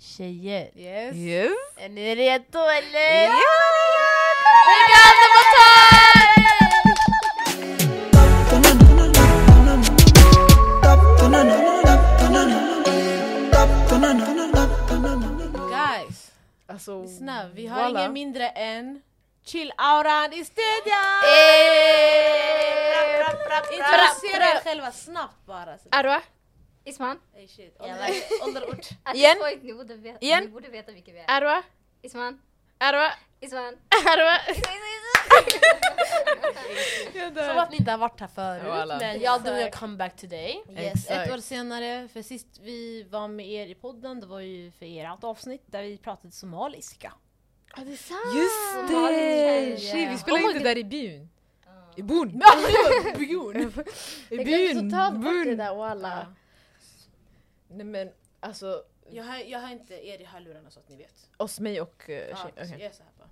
tjejer. Yes. Yes. Är ni redo eller? Ja! Vi kan det på tal! Guys, Alltså, lyssna. Vi har voilà. ingen mindre än Chill-auran i studion! Eh, Introducera er själva snabbt bara. Så. Arwa, Isman, Ey, shit. Ålder- Ålder, ort. att Igen. folk, ni borde, veta, Igen. ni borde veta vilka vi är. Arwa, Isman, Arwa, Isman. Arwa. Som att ni inte har varit här förut, Voilà. men jag drog en comeback today. Yes, Exakt. ett år senare, för sist vi var med er i podden, det var ju för ert avsnitt där vi pratade somaliska. Ja, det är sant! Just Somalier. det! Shit, vi spelade inte där i byn. I byn. Björn! I Jag glömde byn. totalt bort det byn. där walla. Nej men alltså, Jag har, jag har inte er i hörlurarna så att ni vet. oss, mig och eh, Ja, tjej. så okej. jag är så här bara.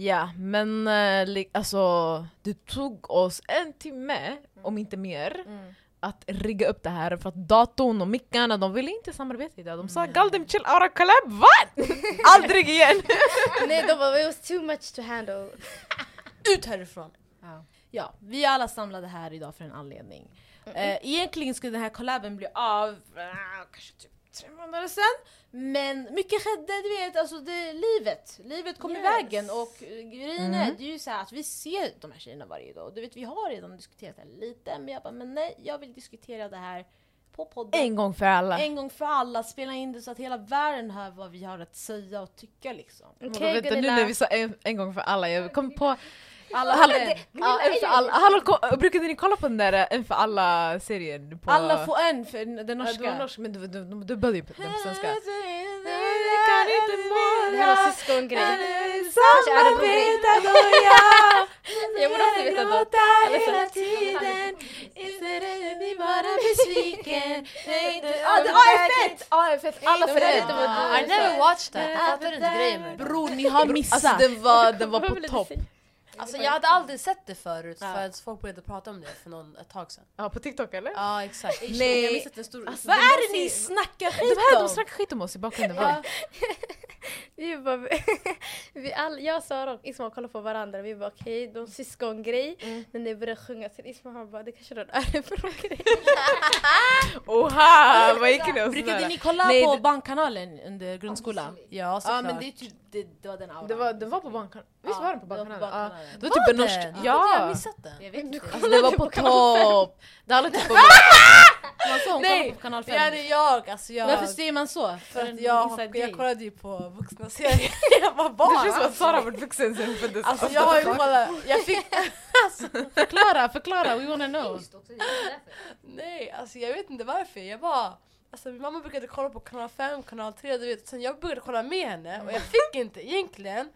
Ja, men eh, li- alltså det tog oss en timme, Mm. om inte mer, att rigga upp det här för att datorn och mickarna, de ville inte samarbeta idag. De sa Mm. Galdem chill Ara collab, vad? Aldrig igen! Nej, de bara, it was too much to handle. Ut härifrån! Ja. ja, vi är alla samlade här idag för en anledning. Eh, egentligen skulle den här collaben bli av eh, kanske typ tre månader sedan. Men mycket skedde, du vet, alltså det, livet. Livet kom i Yes. vägen och eh, grejen är, Mm. det är ju så här att vi ser de här tjejerna varje dag. Du vet, vi har redan diskuterat det här lite, men jag bara, men nej, jag vill diskutera det här på podden. En gång för alla. En gång för alla, spela in det så att hela världen hör vad vi har att säga och tycka liksom. Vadå, Okej vänta, nu Gunilla. när vi sa en, en gång för alla, jag kom på... Alla Hallå, får en. ja, en för alla. Hallå, ko- brukade ni kolla på den där eh, en för alla-serien? På... Alla får en för den Ja, norska. du var norsk, men du, du, du började ju på den på svenska. Det här var syskongrej. Samarbetar då jag Jag borde också veta något. hela tiden Istället ni bara besviken Nej, det- Ah, det- ah, är fett! Ja, jag vet, alla Föräldrar föräldrar. var Ah, I never watched that, jag fattar inte grejen med det. Bror, ni har Alltså missat! den var, den var på topp. Alltså jag hade aldrig sett det förut Ja. förrän folk började prata om det för någon, ett tag sedan. Ja, på TikTok eller? Ja exakt. Nej. Jag har missat en stor... Alltså, Vad det är var det ni så- snackar De här de skit om? snackar skit om oss i bakgrunden. Ja. Ja. Vi bara, vi all, jag, Sara och Isma kollade på varandra vi bara okej, de syskongrej. Mm. Men när det började sjunga sen Isma han bara det kanske är en Örebro-grej. Oha, vad gick ni och Brukade sådär? ni kolla Nej, på det- Barnkanalen under grundskolan? Ja Ja såklart. men det är typ, det, det var den auran. Det var, den var på Barnkanalen. Visst Ja, var den på det var på Barnkanalen? Ja. Barnkanalen. Det var typ en den? norsk... Jag har Ja! missat den. Jag vet inte. Alltså det var typ på topp! Det handlar typ om... Man såg hon kollade Nej, på kanal 5. Det är det jag, alltså jag. Varför säger man så? För att jag, jag kollade ju på vuxna serier när jag var Det barn. känns som att alltså. Sara har varit vuxen sen hon föddes. Alltså jag har ju kollat, jag fick, Förklara, förklara, we wanna know. Just också, det är därför. nej alltså jag vet inte varför, jag bara Alltså min mamma brukade kolla på kanal 5, kanal 3 du vet, sen jag började kolla med henne och jag fick inte egentligen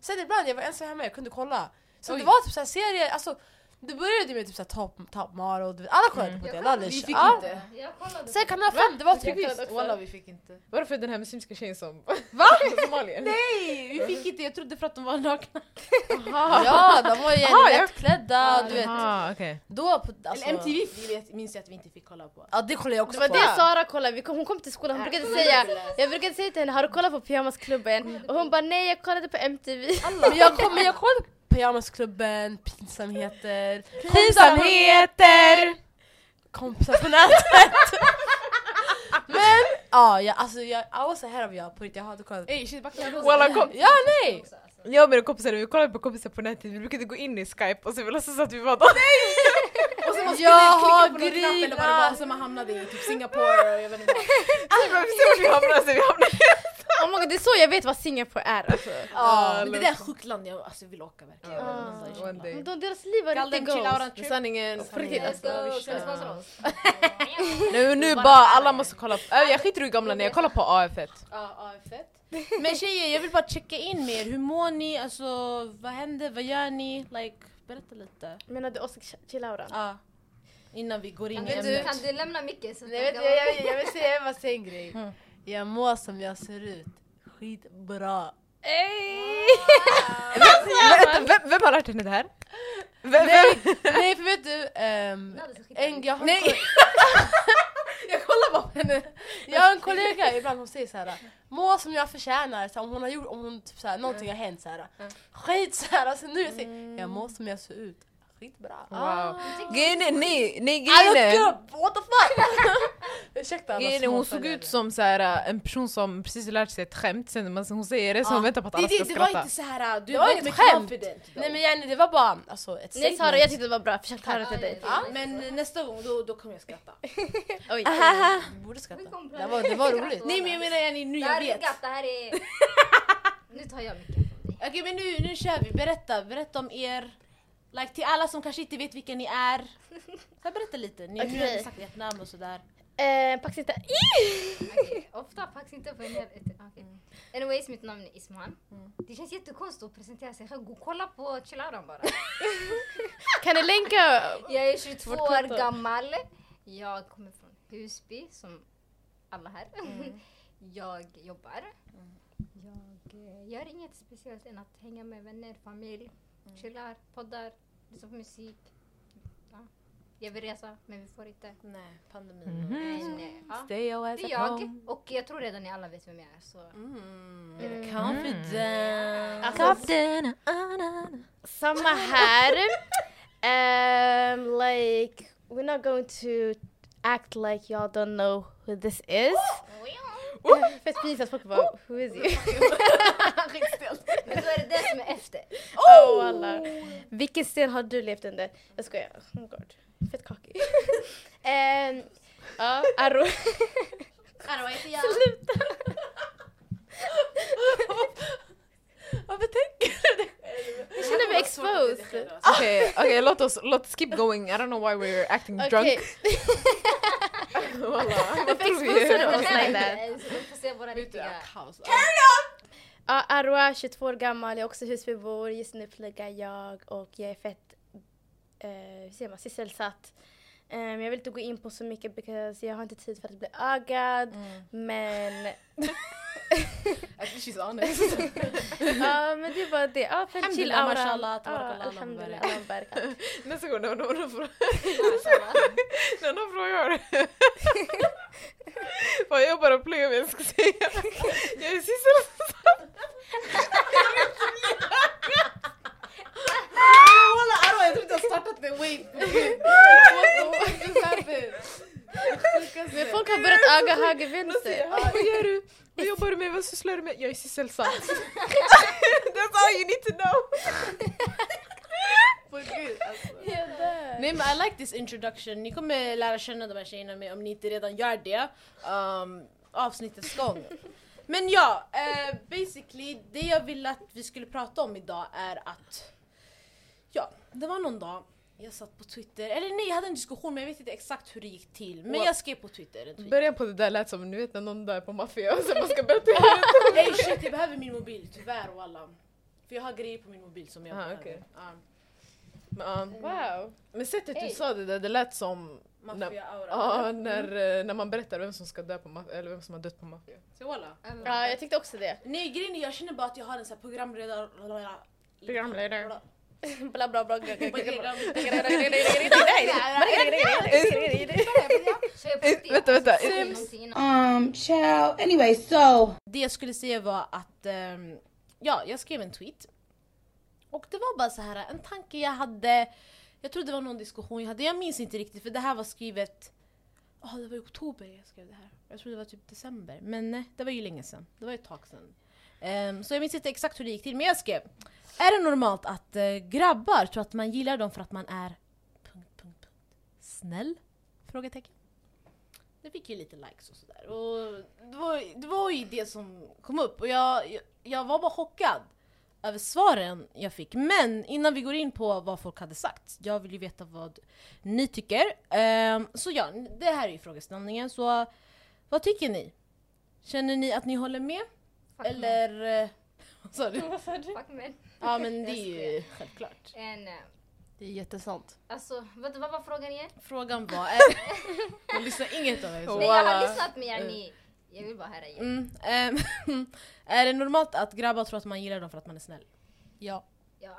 Sen ibland jag var ensam hemma, jag kunde kolla Så det var typ såhär serier, alltså det började med typ såhär Top, top Model, du vet, alla kollade på det, alla Vi fick Ja. inte. Jag kollade Sen kanal 5, det var typ Walla vi fick inte. Varför den här muslimska tjejen som... Va? Somalien? Nej, vi fick inte, jag trodde för att de var nakna. Ja, de var ju Aha, jag- lättklädda, du vet Aha, Ah, okej. Då på, alltså, Eller MTV vi vet, minns jag att vi inte fick kolla på. Ja det kollade jag också Det var på det Sara kollade, vi kom, hon kom till skolan, hon brukade säga, jag brukade säga till henne har du kollat på Mm. Pyjamasklubben? Och hon bara nej jag kollade på MTV. Men jag, kom, men jag kollade på Pyjamasklubben, pinsamheter, Pinsamheter! kompisar på nätet. Men ja, jag, alltså jag, I was ahead of jag på riktigt, jag hade kollat. Ey shit, vad kan jag Walla kom. Ja nej! också. Alltså. Jag och mina kompisar vi kollade på kompisar på nätet, vi brukade gå in i skype och så vi låtsas att vi var där. Jag har på någon knapp eller vad det var, och grinat! sen man hamnade i typ Singapore och jag vet inte vad. Alltså, bara, vi ser vart vi hamnar, så vi hamnar. Oh my God, det är så jag vet vad Singapore är alltså. Ja, men det där är sjukt land jag alltså, vill åka verkligen. Ja. Någon dag i One day. Kina. Men de, deras liv var Galden riktigt chill goals. out on trip. Sanningen. På riktigt, Let's alltså, go, vi ska kör. ni sponsra oss? Nu, nu bara, alla måste kolla på, äh, jag skiter i hur gamla ni är, jag kollar på AF1. Ja, ja, fett. Men tjejer, jag vill bara checka in med er. Hur mår ni? Alltså, vad händer? Vad gör ni? Like, berätta lite. Menar du Oskar Chilauran? Ja. Innan vi går in i Kan du, ämnet. kan du lämna micken? så att Nej, vet du, jag- jag, jag, jag vill säga jag vill bara säga en grej. Mm. Jag mår som jag ser ut, skitbra. Vänta, vem, vem har lärt henne det här? Vem, vem? Nej för vet du, ehm, Nadja, så skickar en, vi. jag har Nej. koll- Jag kollar kollar bara på henne. Jag har en kollega ibland hon säger såhär Må som jag förtjänar, så här, om hon har gjort, om hon, typ, så här, någonting har hänt såhär Skit såhär, alltså nu jag säger jag mår som jag ser ut Skitbra Wow. Jag tycker- Grejen är, nej, nej I grejen look är, good, what the fuck! Ursäkta alla grejen är hon såg småföljare. ut som så här, äh, en person som precis lärt sig ett skämt, sen när hon säger det så hon väntar på att Det, alla ska det, det var skratta. inte så här. du Det var var inget inte skämt. confident. Nej men Jenny det var bara alltså, ett Nej Sara jag tyckte det var bra, försök höra till dig. Ja, ja, Men eh, nästa gång då, då kommer jag skratta. Ah, Oj. Du borde skratta. Vi kom på Det var, det var roligt. Nej men jag menar Jenny, nu Det jag här är vet. gatt, det här är... Nu tar jag micken från dig. Okej men nu, nu kör vi, berätta, berätta om er. Like till alla som kanske inte vet vilka ni är. Så här, berätta lite, ni nu har Okej. ni sagt ert namn och sådär. Eh, Pax inte. Okej, Ofta faktiskt inte på en hel... Okay. Mm. Anyways, mitt namn är Isman. Det känns jättekonstigt att presentera sig själv. Gå och kolla på Chilaron bara. Kan ni länka? Jag är 22 Vårt konto. år gammal. Jag kommer från Husby, som alla här. Jag jobbar. Jag eh, gör inget speciellt än att hänga med vänner, familj, chillar, poddar, lyssnar på musik. Ja. Jag vill resa, men vi får inte. Nej, pandemin. Men, eh, ja. Stay always Det är jag. Och jag tror redan ni alla vet vem jag är. Så. Mm. Confident. Alltså, samma här. um, like, we're not going to act like y'all don't know who this is. Eh, Fett pinsamt, folk bara who is you? Men då är det det som är efter. Oh, wallah. Vilken sten har du levt under? Jag skojar. Oh god. Fett kakig. Ehm, Ja, Arro. Hallå, vad heter jag? Varför tänker du det? Jag känner mig exposed. Okej, okej, låt oss låt oss keep going, I don't know why we're acting drunk. Okej, Wallah, vad tror vi? exposed Det oss like that. är- så de får se våra Vet du, jag riktiga... har kaos. Ja, Arwa, 22 år gammal, jag är också Husbybo. Just nu pluggar jag och jag är fett eh, hur säger man, sysselsatt. Ehm, jag vill inte gå in på så mycket because jag har inte tid för att bli ögad. Men, She's honest. ja men det är bara det. Ja, för chill Alhamdulillah, aura. mashallah, Ja, tabarakallah, alhamdulillah, Allahu Allahu barik. Nästa gång när hon- när hon frågar Alltså, när hon frågar vad jag bara pluggar vad jag ska säga. Jag är sysselsatt. Ah, Walla Arwa, jag tror inte jag har startat det. Wait. Men folk har börjat öga höger vänster. Ah, Vad gör du? Vad jobbar du med? Vad sysslar du med? Jag är sysselsatt. That's all you need to know. Alltså. Nej men I like this introduction, ni kommer lära känna de här tjejerna med om ni inte redan gör det um, avsnittets gång. Men ja, eh, basically det jag ville att vi skulle prata om idag är att Ja, det var någon dag jag satt på Twitter, eller nej jag hade en diskussion men jag vet inte exakt hur det gick till Men jag skrev på Twitter en tweet Början på det där lät som ni vet när någon där på maffia och sen man ska berätta hur det Nej shit jag behöver min mobil tyvärr walla För jag har grejer på min mobil som jag Ah, behöver okej. ah, Men, um, Wow. Men sättet du Hej. sa det där, det lät som när, Maffia-aura ja, när, eh, när man berättar vem som ska dö på maffia, eller vem som har dött på maffia. Så walla Ja, jag tyckte också det. Nej grejen är jag känner bara att jag har en sån här programledare... Programledare. Bla bla bla. bla, bla, bla. Vänta, vänta. Um, ciao. Anyway, so Det jag skulle säga var att ehm, ja, jag skrev en tweet. Och det var bara så här en tanke jag hade. Jag tror det var någon diskussion jag hade. Jag minns inte riktigt för det här var skrivet Ja, det var i oktober jag skrev det här. Jag tror det var typ december. Men nej, det var ju länge sedan. Det var ju ett tag sedan. Ehm, så jag minns inte exakt hur det gick till, men jag skrev Är det normalt att eh, grabbar tror att man gillar dem för att man är... Punkt, punkt, punkt. Snäll? Frågetecken. Det fick ju lite likes och sådär. Och det, var, det var ju det som kom upp och jag, jag, jag var bara chockad över svaren jag fick. Men innan vi går in på vad folk hade sagt, jag vill ju veta vad ni tycker. Ehm, så ja, det här är ju frågeställningen. Så vad tycker ni? Känner ni att ni håller med? Eller... eh, Vad sa du? Fuck men. Ja men det Jag är ju självklart. En, eh, Det är jättesant. alltså, vänta, vad var frågan igen? Frågan var... eh, Jag lyssnar inget av det. Oh. Nej, jag har Voilà. lyssnat men jag, ni, jag vill bara höra igen. Mm, ehm, är det normalt att grabbar tror att man gillar dem för att man är snäll? Ja. Ja.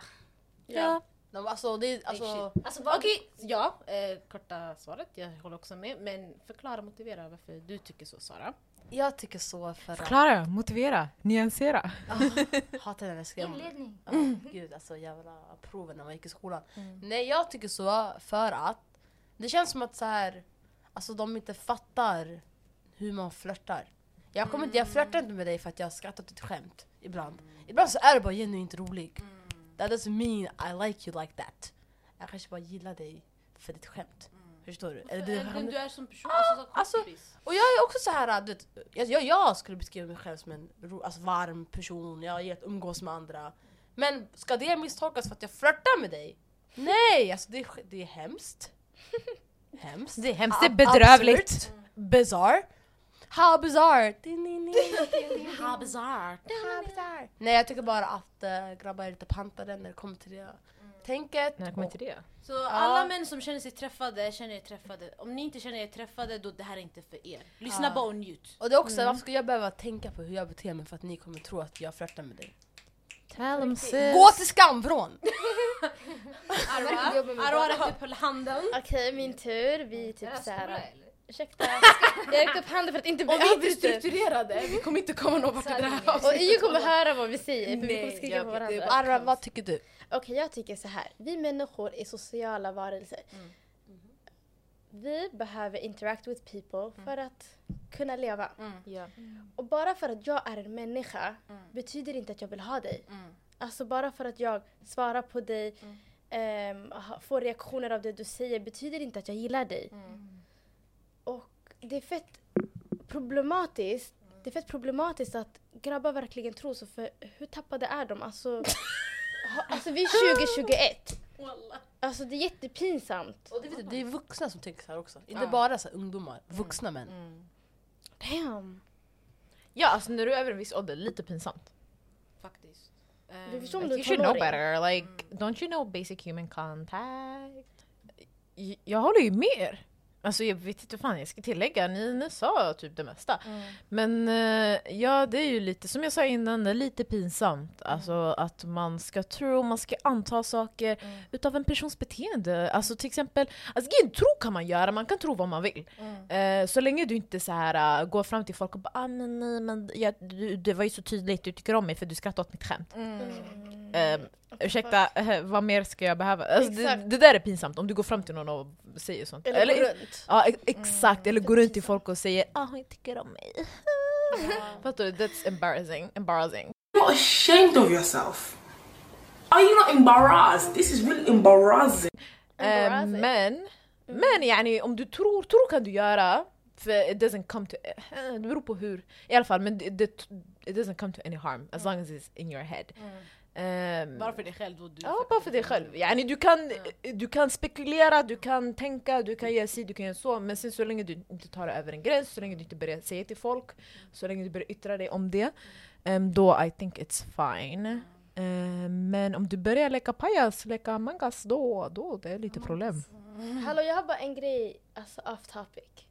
Ja. De, alltså, det, är- alltså, Alltså, vad, Okej, ja. Eh, korta svaret, jag håller också med. Men förklara, motivera varför du tycker så Sara. jag tycker så för att... Förklara, motivera, nyansera. Hatar den här skrämmen. Inledning. Ja, gud alltså jävla proven när man gick i skolan. Nej jag tycker så för att det känns som att så här, alltså de inte fattar hur man flörtar. Jag, kommer inte, jag flörtar inte med dig för att jag har skrattat åt ett skämt ibland. Ibland så är det bara genuint rolig. That doesn't mean I like you like that. Jag kanske bara gillar dig för ditt skämt. Förstår du? Eller det- Eh, du är som person, alltså, alltså, och jag är också så här, du vet, jag, jag, jag skulle beskriva mig själv som en ro, alltså, varm person, jag gillar att umgås med andra. Men ska det misstolkas för att jag flörtar med dig? Nej, alltså det är, sk- det är hemskt. Hemskt. Det är hemskt, det är bedrövligt. Bizarre. How bizarre. Din, din, din, din. How bizarre. How bizarre. Nej jag tycker bara att eh, grabbar är lite pantade när det kommer till det tänket. När kommer till det? Så alla män som känner sig träffade, känner er träffade. Om ni inte känner er träffade, då det här är inte för er. Lyssna bara och njut. Och det är också, varför ska jag behöva tänka på hur jag beter mig för att ni kommer tro att jag flörtar med dig? Tell them Gå till skamvrån! Verkligen jobbar med Arwa räckte upp handen. Okej, min tur. Vi är typ Är det skola, såhär... eller? Ursäkta. Jag räckte upp handen för att inte bli Om vi inte är avbruten. strukturerade, vi kommer inte komma någon vart i det här Och avsnittet. ingen kommer höra vad vi säger för vi Nej, kommer skrika jag på vet, det är varandra. bara- Arra, vad tycker du? Okej, jag tycker så här. Vi människor är sociala varelser. Vi behöver interact with people för att kunna leva. Och bara för att jag är en människa betyder inte att jag vill ha dig. Alltså bara för att jag svarar på dig, ehm, ha- får reaktioner av det du säger betyder inte att jag gillar dig. Och det är fett problematiskt. Det är fett problematiskt att grabbar verkligen tror så för hur tappade är de? Alltså, ha, alltså vi är 2021. Alltså det är jättepinsamt. Och det, vet du, det är typ- vuxna som tänker så här också. Inte bara så här, ungdomar, vuxna män. Damn. Ja alltså när du är över en viss ålder, lite pinsamt. Faktiskt. Du Ehm, förstår om Like, du you är should know tonåring. better, like don't you know basic human contact? J- Jag håller ju med er. Alltså jag vet inte vad fan jag ska tillägga, ni, ni sa typ det mesta. Men eh, ja, det är ju lite, som jag sa innan, det är lite pinsamt. Alltså att man ska tro, man ska anta saker utav en persons beteende. Alltså till exempel, alltså grejen, tro kan man göra, man kan tro vad man vill. Eh, så länge du inte så här, äh, går fram till folk och bara ah, men, nej, men jag, du, det var ju så tydligt, du tycker om mig för du skrattade åt mitt skämt. Eh, ursäkta, eh, vad mer ska jag behöva? Alltså, det, Exakt. det där är pinsamt, om du går fram till någon och säger sånt. Eh, Eller, Eller- gå runt. Mm, typ Ja ex- exakt, eller går runt till folk och säger ah hon tycker om mig. Fattar du? That's embarrassing. embarrassing. You're ashamed of yourself. Are you not embarrassed? This is really embarrassing. Eh, Embarrassing. men, Mm. men yani, om du tror, tror kan du göra. För it doesn't come to, eh, det beror på hur. I alla fall, men det, det, it doesn't come to any harm as long as it's in your head. Ehm, Mm. Bara för dig själv och du. Ja, bara för dig själv. Yani, du, kan, du kan spekulera, du kan tänka, du kan göra si, du kan göra så. Men sen så länge du inte tar det över en gräns, så länge du inte börjar säga till folk, så länge du börjar yttra dig om det, Mm. em, då I think it's fine. Em, Eh, men om du börjar leka pajas, leka mangas, då, då det är lite problem. Hallå jag har bara en grej, alltså off topic.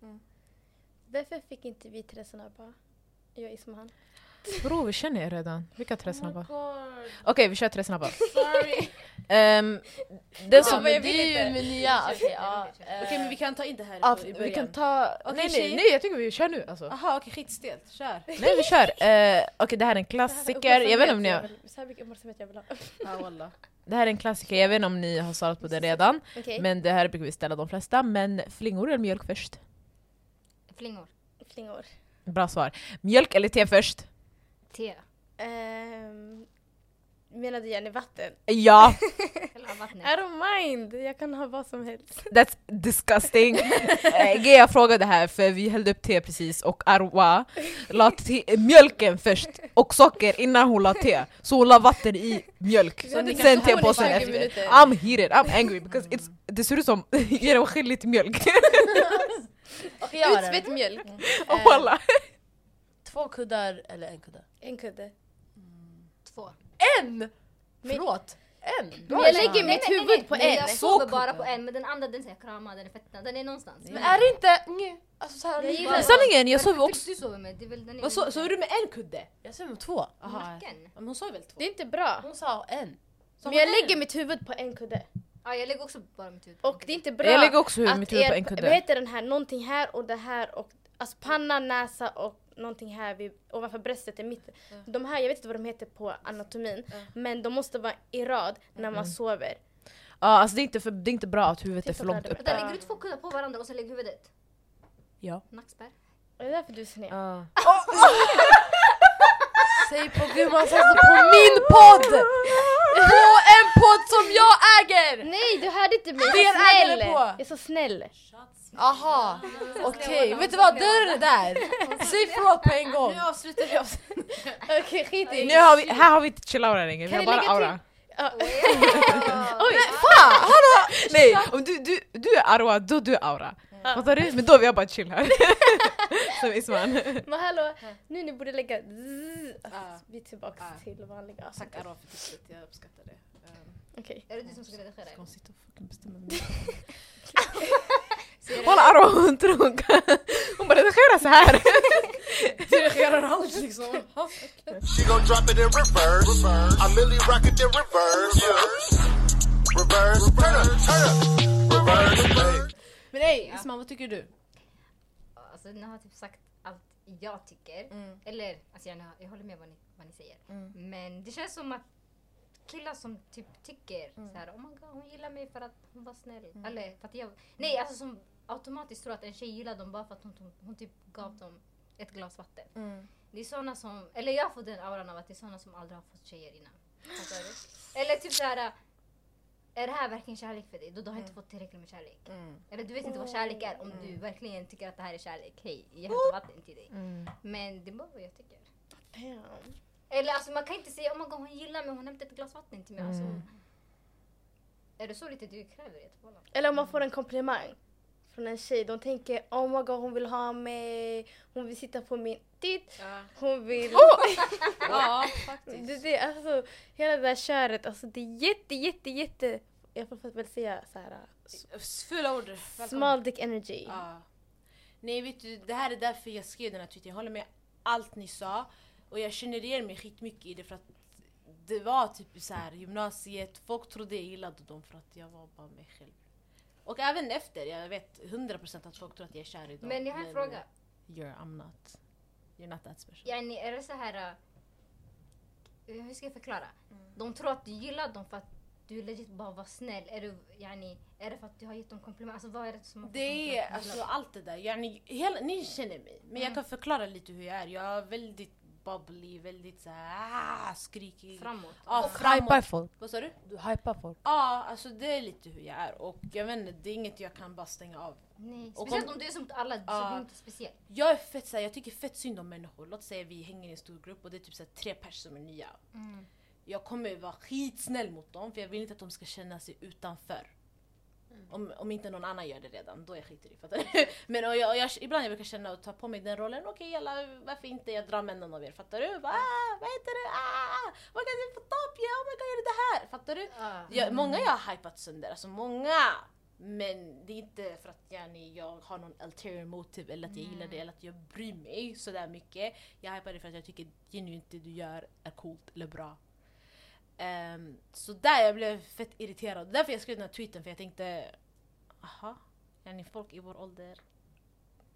Varför fick inte vi tre snabba? Jag är Ismahan. Bror, vi känner er redan. Vilka tre snabba? Okej, Oh God, vi kör tre snabba. sorry. Em, den som, men det är ju min nya... Okej, ja. Okej men eh, vi kan ta in det här ja, på- i början. vi kan ta... nej, nej, tjejer. nej, jag tycker vi kör nu alltså. Aha okej skitstelt, kör. Nej vi kör! Eh, Okej det här är en klassiker, jag vet inte om ni har, Så här mycket uppmärksamhet jag vill ha. Ja, wallah. det här är en klassiker, jag vet inte om ni har svarat på det redan Okej, Men det här brukar vi ställa de flesta, men flingor eller mjölk först? Flingor. flingor. Bra svar! Mjölk eller te först? Te. Um, menade Jenny vatten? Ja! Eller vattnet. I don't mind, jag kan ha vad som helst. That's disgusting! Eh, Gea frågade här för vi hällde upp te precis och Arwa la te, mjölken först och socker innan hon la te Så hon la vatten i mjölk, ni kan sen få hålla i tepåsen 20 efter minuter. I'm heated, I'm angry because it's, det ser ut som genomskinligt mjölk Okej, jag har en. Utspätt mjölk. Walla. Två kuddar eller en kudde? En kudde. Två. En! Förlåt! En! Men jag lägger mitt huvud på nej, en. Jag sover bara på en, men den andra den säger krama, den är fettad, den är någonstans. Men Är det inte... nj, Alltså så här, Jag gillar- bara- Sanningen, jag sover varför också... fick du sover med? Det är väl den Vad so- ena. sover du med en kudde? Jag säger med två. Aha. Nacken. Men hon sa väl två? Det är inte bra. Hon sa en. Som Men jag hon är lägger nu. mitt huvud på en kudde. Ja, jag lägger också bara mitt huvud. Och det är inte bra Jag lägger också att mitt huvud på er- en Vad kudde. heter den här? Någonting här och det här och alltså panna, näsa och någonting här vid, ovanför bröstet i mitten. De här, jag vet inte vad de heter på anatomin. Men de måste vara i rad när man sover. Ja, alltså det är, inte för, det är inte bra att huvudet är Titta för på långt det. upp. Vänta, lägger du två kuddar på varandra och sen lägger huvudet? Ja. Nackspärr. Är det därför du är sned? Ja. Säg på gud man satsar på min podd! På en podd som jag äger! Nej, du hörde inte mig! Det Jag är är så jag ägare snäll! på. Jag är så snäll! Aha, okej. Vet du vad, dörren är där! Säg förlåt på en gång! avslutar vi oss. Okej, skit i Nu har vi, här har vi inte chillout längre, vi Kan har ni bara lägga aura. Oj! Nej, om du, du, du är arwa, då du är aura. Fattar du? Men då är jag bara chill här. Som Isman. Men hallå, nu ni borde lägga zzz. Alltså, Vi är tillbaka till vanliga Tack avsnitt. Aron för tipset, jag uppskattar det. Um, Okej. Är det du som ska redigera? ska det? hon sitta och fucking bestämma mig? Ser du? Kolla arwa, hon tror hon kan. Hon bara redigera så här. Redigerar allt liksom. She gon' drop it in reverse. I merely rock it in reverse. Reverse. Turn up, turn up. Reverse. Reverse. Men ey Isman, vad tycker du? Alltså ni har typ sagt allt jag tycker. Mm. Eller, alltså jag, jag håller med vad ni, vad ni säger. Men det känns som att killar som typ tycker Mm. så här, oh my god hon gillar mig för att hon var snäll. Eller för att jag, nej alltså som automatiskt tror att en tjej gillar dem bara för att hon, hon, hon typ gav Mm. dem ett glas vatten. Det är såna som, eller jag får den auran av att det är såna som aldrig har fått tjejer innan. Fattar du? Eller typ så här. Är det här verkligen kärlek för dig? Då du har Mm. inte fått tillräckligt med kärlek. Eller du vet inte vad kärlek är om du verkligen tycker att det här är kärlek. Hej, jag hämtar vatten till dig. Men det är bara vad jag tycker. Damn. Eller alltså man kan inte säga oh my god hon gillar mig, hon hämtade ett glas vatten till mig. Alltså, är det så lite du kräver i ett förhållande? Eller om man får en komplimang från en tjej. De tänker oh my god hon vill ha mig, hon vill sitta på min titt, hon vill... Ja, Det, det, alltså, hela det där köret, alltså, det är jätte, jätte, jätte... Jag får väl säga så här, faktiskt. Fula ord. Välkommen. small dick energy. Ja. Nej vet du, det här är därför jag skrev den här tweeten. Jag håller med allt ni sa. Och jag känner igen mig skitmycket i det för att det var typ så här gymnasiet, folk trodde jag gillade dem för att jag var bara mig själv. Och även efter, jag vet 100% att folk tror att jag är kär i dem. Men jag har en fråga. You're, I'm not. You're not that special. Yani, är det så här... eh, hur ska jag förklara? De tror att du gillar dem för att du legit bara var snäll. Är, du, yani, är det för att du har gett dem komplimanger? Alltså vad är det som har fått dem Det att tro är att alltså Mm. du gillar dem? allt det där. Jag, ni, hela, ni känner mig. Men jag kan förklara lite hur jag är. Jag är väldigt bubbly, väldigt så här, ah, skrikig. Framåt. Ja, Alltså, framåt. folk. Vad sa du? Du hypar folk. Ja, alltså det är lite hur jag är. Och jag vet inte, det är inget jag kan bara stänga av. Nej. Och Speciellt om- om, du är som alla, så Ja. du är inte speciell. Jag är fett såhär, jag tycker fett synd om människor. Låt säga vi hänger i en stor grupp och det är typ såhär, tre pers som är nya. Jag kommer vara skitsnäll mot dem för jag vill inte att de ska känna sig utanför. Om, om inte någon annan gör det redan, då är jag skiter i fattar du? Men och jag, och jag, ibland jag brukar känna och ta på mig den rollen, okej jalla varför inte jag drar med någon av er, fattar du? Bara, ah, vad heter du? Ah, vad kan du få topp? Ja, oh my god, gör du det här? Fattar du? Jag, många jag har hypat sönder, alltså många! Men det är inte för att yani, jag har någon ulterior motiv eller att jag gillar det eller att jag bryr mig sådär mycket. Jag hypar det för att jag tycker genuint det du gör är coolt eller bra. Ehm, så där jag blev fett irriterad. Därför jag skrev den här tweeten för jag tänkte, aha, yani folk i vår ålder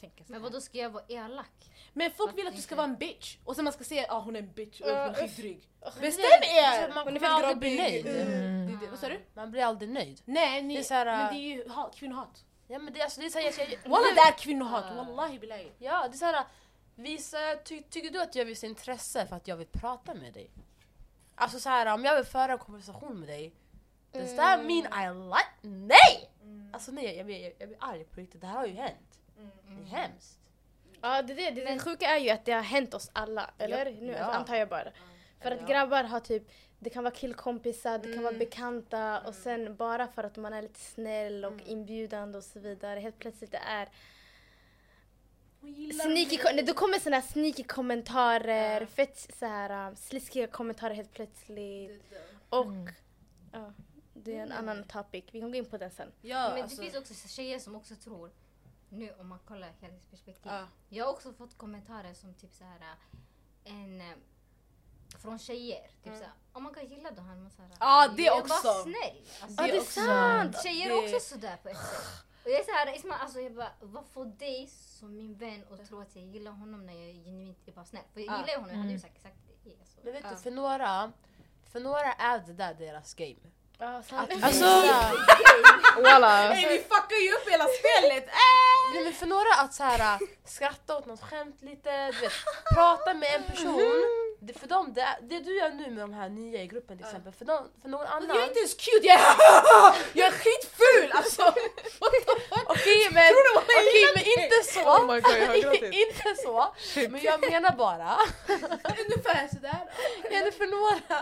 tänker så Men här. vadå, ska jag vara elak? Men folk vill att du Varför ska inte? vara en bitch! Och sen man ska säga att ah, hon är en bitch och hon är skitdryg. Bestäm er! Man kommer aldrig bli nöjd. Mm. Det är det- Vad sa du? Man blir aldrig nöjd. Nej, ni, Det är så här, men äh, det är ju hat, kvinnohat. Ah. Ja men det, alltså, det är såhär, jag, jag, Walla det är kvinnohat, wallahi billahi. ja det är såhär, visa, ty, tycker du att jag visar intresse för att jag vill prata med dig? Alltså såhär, om jag vill föra en konversation med dig, does that Mm. mean I like? Nej! Alltså nej, jag, blir- jag, jag blir arg på riktigt, det här har ju hänt. Mm. Det är hemskt. Ja, det, är det, det, det sjuka är ju att det har hänt oss alla, eller? Nu Ja. antar jag bara. För att grabbar har typ, det kan vara killkompisar, det Mm. kan vara bekanta och sen bara för att man är lite snäll Mm. och inbjudande och så vidare, helt plötsligt det är Sneaky, ko- nej, då kommer såna här sneaky kommentarer, fett så här um, sliskiga kommentarer helt plötsligt. Och, ja, det är en annan topic, vi kan gå in på den sen. Ja, Men alltså, det finns också tjejer som också tror, nu om man kollar helhetsperspektiv. Ja. Jag har också fått kommentarer som typ så här en eh, från tjejer. Typ såhär, oh my god gillar du han? Man såhär, Ja, det jag är också. Bara snäll. Alltså, Ja det är sant! Tjejer är också sådär på ett sätt. Och jag är såhär, Isma, alltså jag bara, vad får dig som min vän att tro att jag gillar honom när jag är genuint är bara snäll? För jag gillar ju honom, jag hade ju sagt exakt det. Alltså. Men vet du, för några, för några är det där deras game. Ja, sant. Alltså, Ja. walla. Ey, vi fuckar ju upp hela spelet! Nej men för några att så här, äh, skratta åt något skämt lite, du vet, prata med en person. Det, för dem, det, det du gör nu med de här nya i gruppen till exempel, för, dem, för någon annan... Jag är inte ens cute, jag är, jag är skitful alltså! Okej men, Tror du vad jag okej, gillar men dig? inte så! Oh my god, jag har gråtit. inte så! Men jag menar bara, Ungefär sådär. är det för några?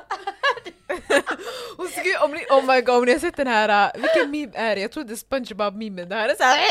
Hon skrev, om ni, oh my god, om ni har sett den här, uh, vilken meme är det? Jag tror det är Spongebob-memen, det här är såhär...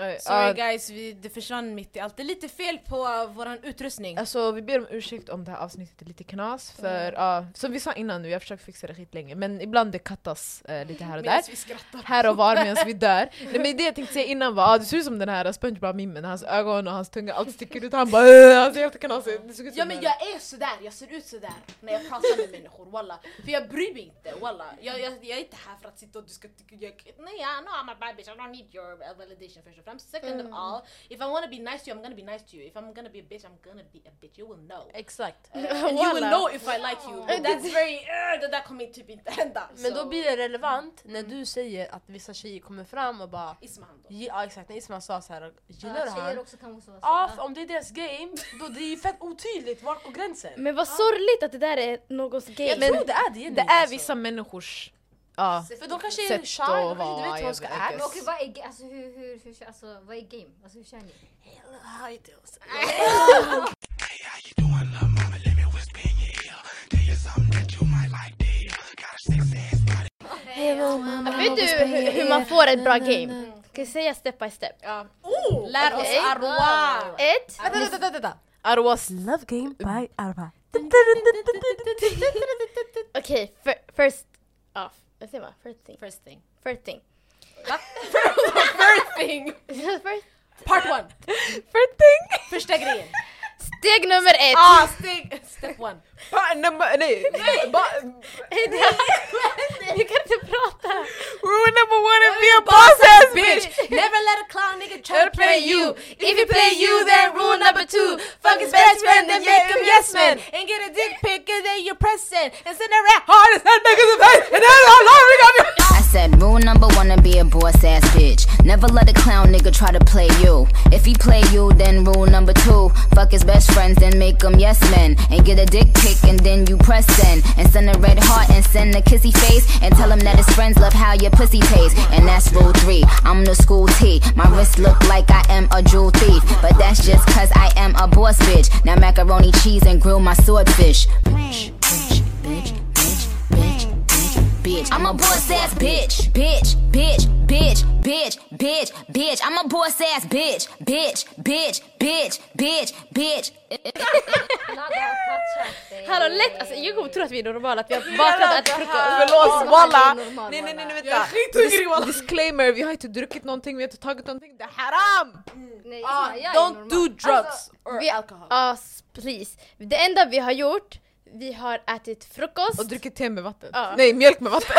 Nej, äh, Sorry ja, guys, vi, det försvann mitt i allt. Det är lite fel på uh, våran utrustning. Alltså vi ber om ursäkt om det här avsnittet är lite knas för ja, som vi sa innan nu, jag försöker fixa det skitlänge men ibland det kattas eh, lite här och där. Medan vi skrattar. Här och var medan vi dör. Nej men det jag tänkte säga innan var, ah, det ser ut som den här Spongebob-mimmen, hans ögon och hans tunga allt sticker ut, han bara "Åh", han ser helt knasig det såg ut. Ja som men en- jag är sådär, jag ser ut sådär när jag pratar med människor walla. För jag bryr mig inte walla. Jag, jag, jag är inte här för att sitta och du ska tycka jag är kul. Nej yeah, no I'm a bad bitch, I don't need your uh, validation first of all. Second of all, if I wanna be nice to you I'm gonna be nice to you. If I'm gonna be a bitch I'm gonna be a bitch, you will know. Exakt. And you will know if I like you. That's very, uh, det där kommer typ inte hända. Men So, då blir det relevant när Mm. du säger att vissa tjejer kommer fram och bara Isma han då. Ja exakt, när Ismail sa såhär, gillar du Ja, han? tjejer också kan också vara Ja, sådär. för om det är deras game, då det är ju fett otydligt var går gränsen? Men vad sorgligt att det där är någons game. Jag tror det är det alltså. det är vissa människors... Ja. För då kanske är sätt shy, att då kanske vara, inte vet hur jag de ska vet act. inte. Men okej, vad är, ga- alltså, hur, hur, hur, alltså, vad är game? Alltså hur kör ni? Hey, how you doing, love mama? Let me whisper in your ear. Tell you something that you might like to hear. Got a sexy ass body. Vet du hur, hur man får ett Mm, bra game? Ska jag säga step by step? Lär oss Okej. Arwa! Ett. Vänta, vänta, vänta, vänta! Arwas Love game by Arba. Okej, fir- first off. Vad säger man? First thing. First thing. First thing. First thing! First. Part one! First thing! Första grejen. Steg nummer ett. Ah, steg! Step one. Ba, number, nej! Ba, Du kan inte prata. rule number one is be a boss ass bitch! Never let a clown nigga try Better to play you. If he play you, then rule number two. Fuck his best friend and make him yes man. And get a dick pic and then you're pressing. And send a rat hard as hell back in the face. And then I'm not I said rule number one to be a boss ass bitch. Never let a clown nigga try to play you. If he play you, then rule number two. Fuck his best friends, then make them yes men. And get a dick pic and then you press send. And send a red heart and send a kissy face. And tell him that his friends love how your pussy tastes. And that's rule three. I'm the school T. My wrist look like I am a jewel thief. But that's just cause I am a boss bitch. Now macaroni cheese and grill my swordfish. Bitch, bitch, bitch, bitch, bitch bitch. I'm a boss ass bitch, bitch, bitch, bitch, bitch, bitch, bitch. I'm a boss ass bitch, bitch, bitch, bitch, bitch, bitch. Ladda har touchat dig. Hallå lätt! Alltså jag kommer tro att vi är normala, att vi har vaknat att frukost. Förlåt walla! normal, Nej nej nej nej, walla. vänta! Dis- disclaimer, vi har inte druckit någonting, vi har inte tagit någonting, det är haram! Nej, Isma, jag är Don't normal. do drugs or vi- alcohol. Ja, s- precis. Det enda vi har gjort, vi har ätit frukost. Och druckit te med vatten. Ja. Nej, mjölk med vatten!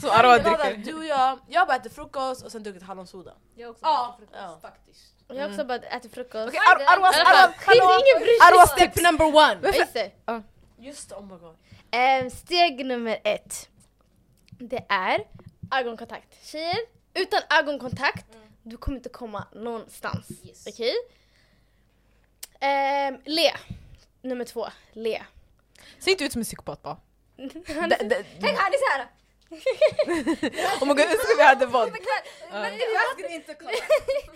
Som Arwa dricker. Du och jag, jag har bara ätit frukost och sen druckit hallonsoda. Jag också. Ja, Ja. faktiskt. Jag har också bara ätit frukost. Okej, Ar- Arwas, I alla fall, Arwas, hallå! ingen bryr sig. Arwas tips! Step number one. Just det. Just det, oh my god. Ehm, steg nummer ett. Det är ögonkontakt. Tjejer, utan ögonkontakt, Mm. du kommer inte komma någonstans. Okej? Ehm, le. Nummer två, le. Se inte ut som en psykopat bara. Han- Tänk han är såhär. Om Oh jag önskar vi hade våld. Men det Jag skulle inte kolla.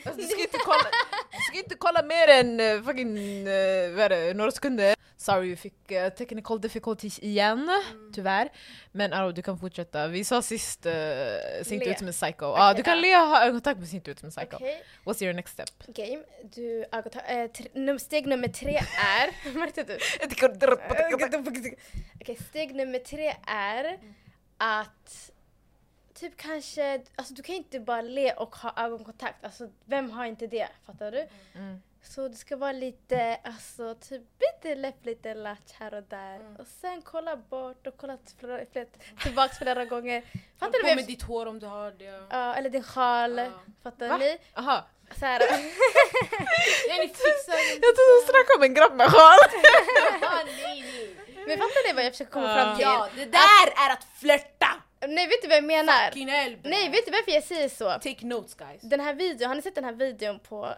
Alltså, du, ska inte kolla, du ska inte kolla mer än eh, fucking, eh, vad är det, några sekunder. Sorry, vi fick eh, technical difficulties igen, tyvärr. Men Aro, du kan fortsätta. Vi sa sist, uh, se inte Le. ut som en psycho. Ja, du kan le och ha ögonkontakt men se inte ut som en psycho. Okej, What's your next step? game. Du, ögonkontakt. Eh, tre- num- steg nummer tre är... Märkte du? Eh, Okej, steg nummer tre är att typ Mm. kanske, alltså du kan inte bara le och ha ögonkontakt, alltså vem har inte det? Fattar du? Så det ska vara lite, alltså typ lite läpp, lite latch här och där. Mm. Och sen kolla bort och kolla till- flera, flera, tillbaks flera gånger. Håll Fattar på du? med Med ditt hår om du har det. ja, eller din sjal. Ja. Fattar Va? ni? Aha. Så här, Ja, ni fixar det. Jag trodde hon snackade om en grabb med sjal! Ja, nej, nej. men fattar ni vad jag försöker komma fram till? Ja, det där är att flirta! Nej vet du vad jag menar? Fucking hell, bro. Nej vet du varför jag säger så? Take notes guys. Den här videon, har ni sett den här videon på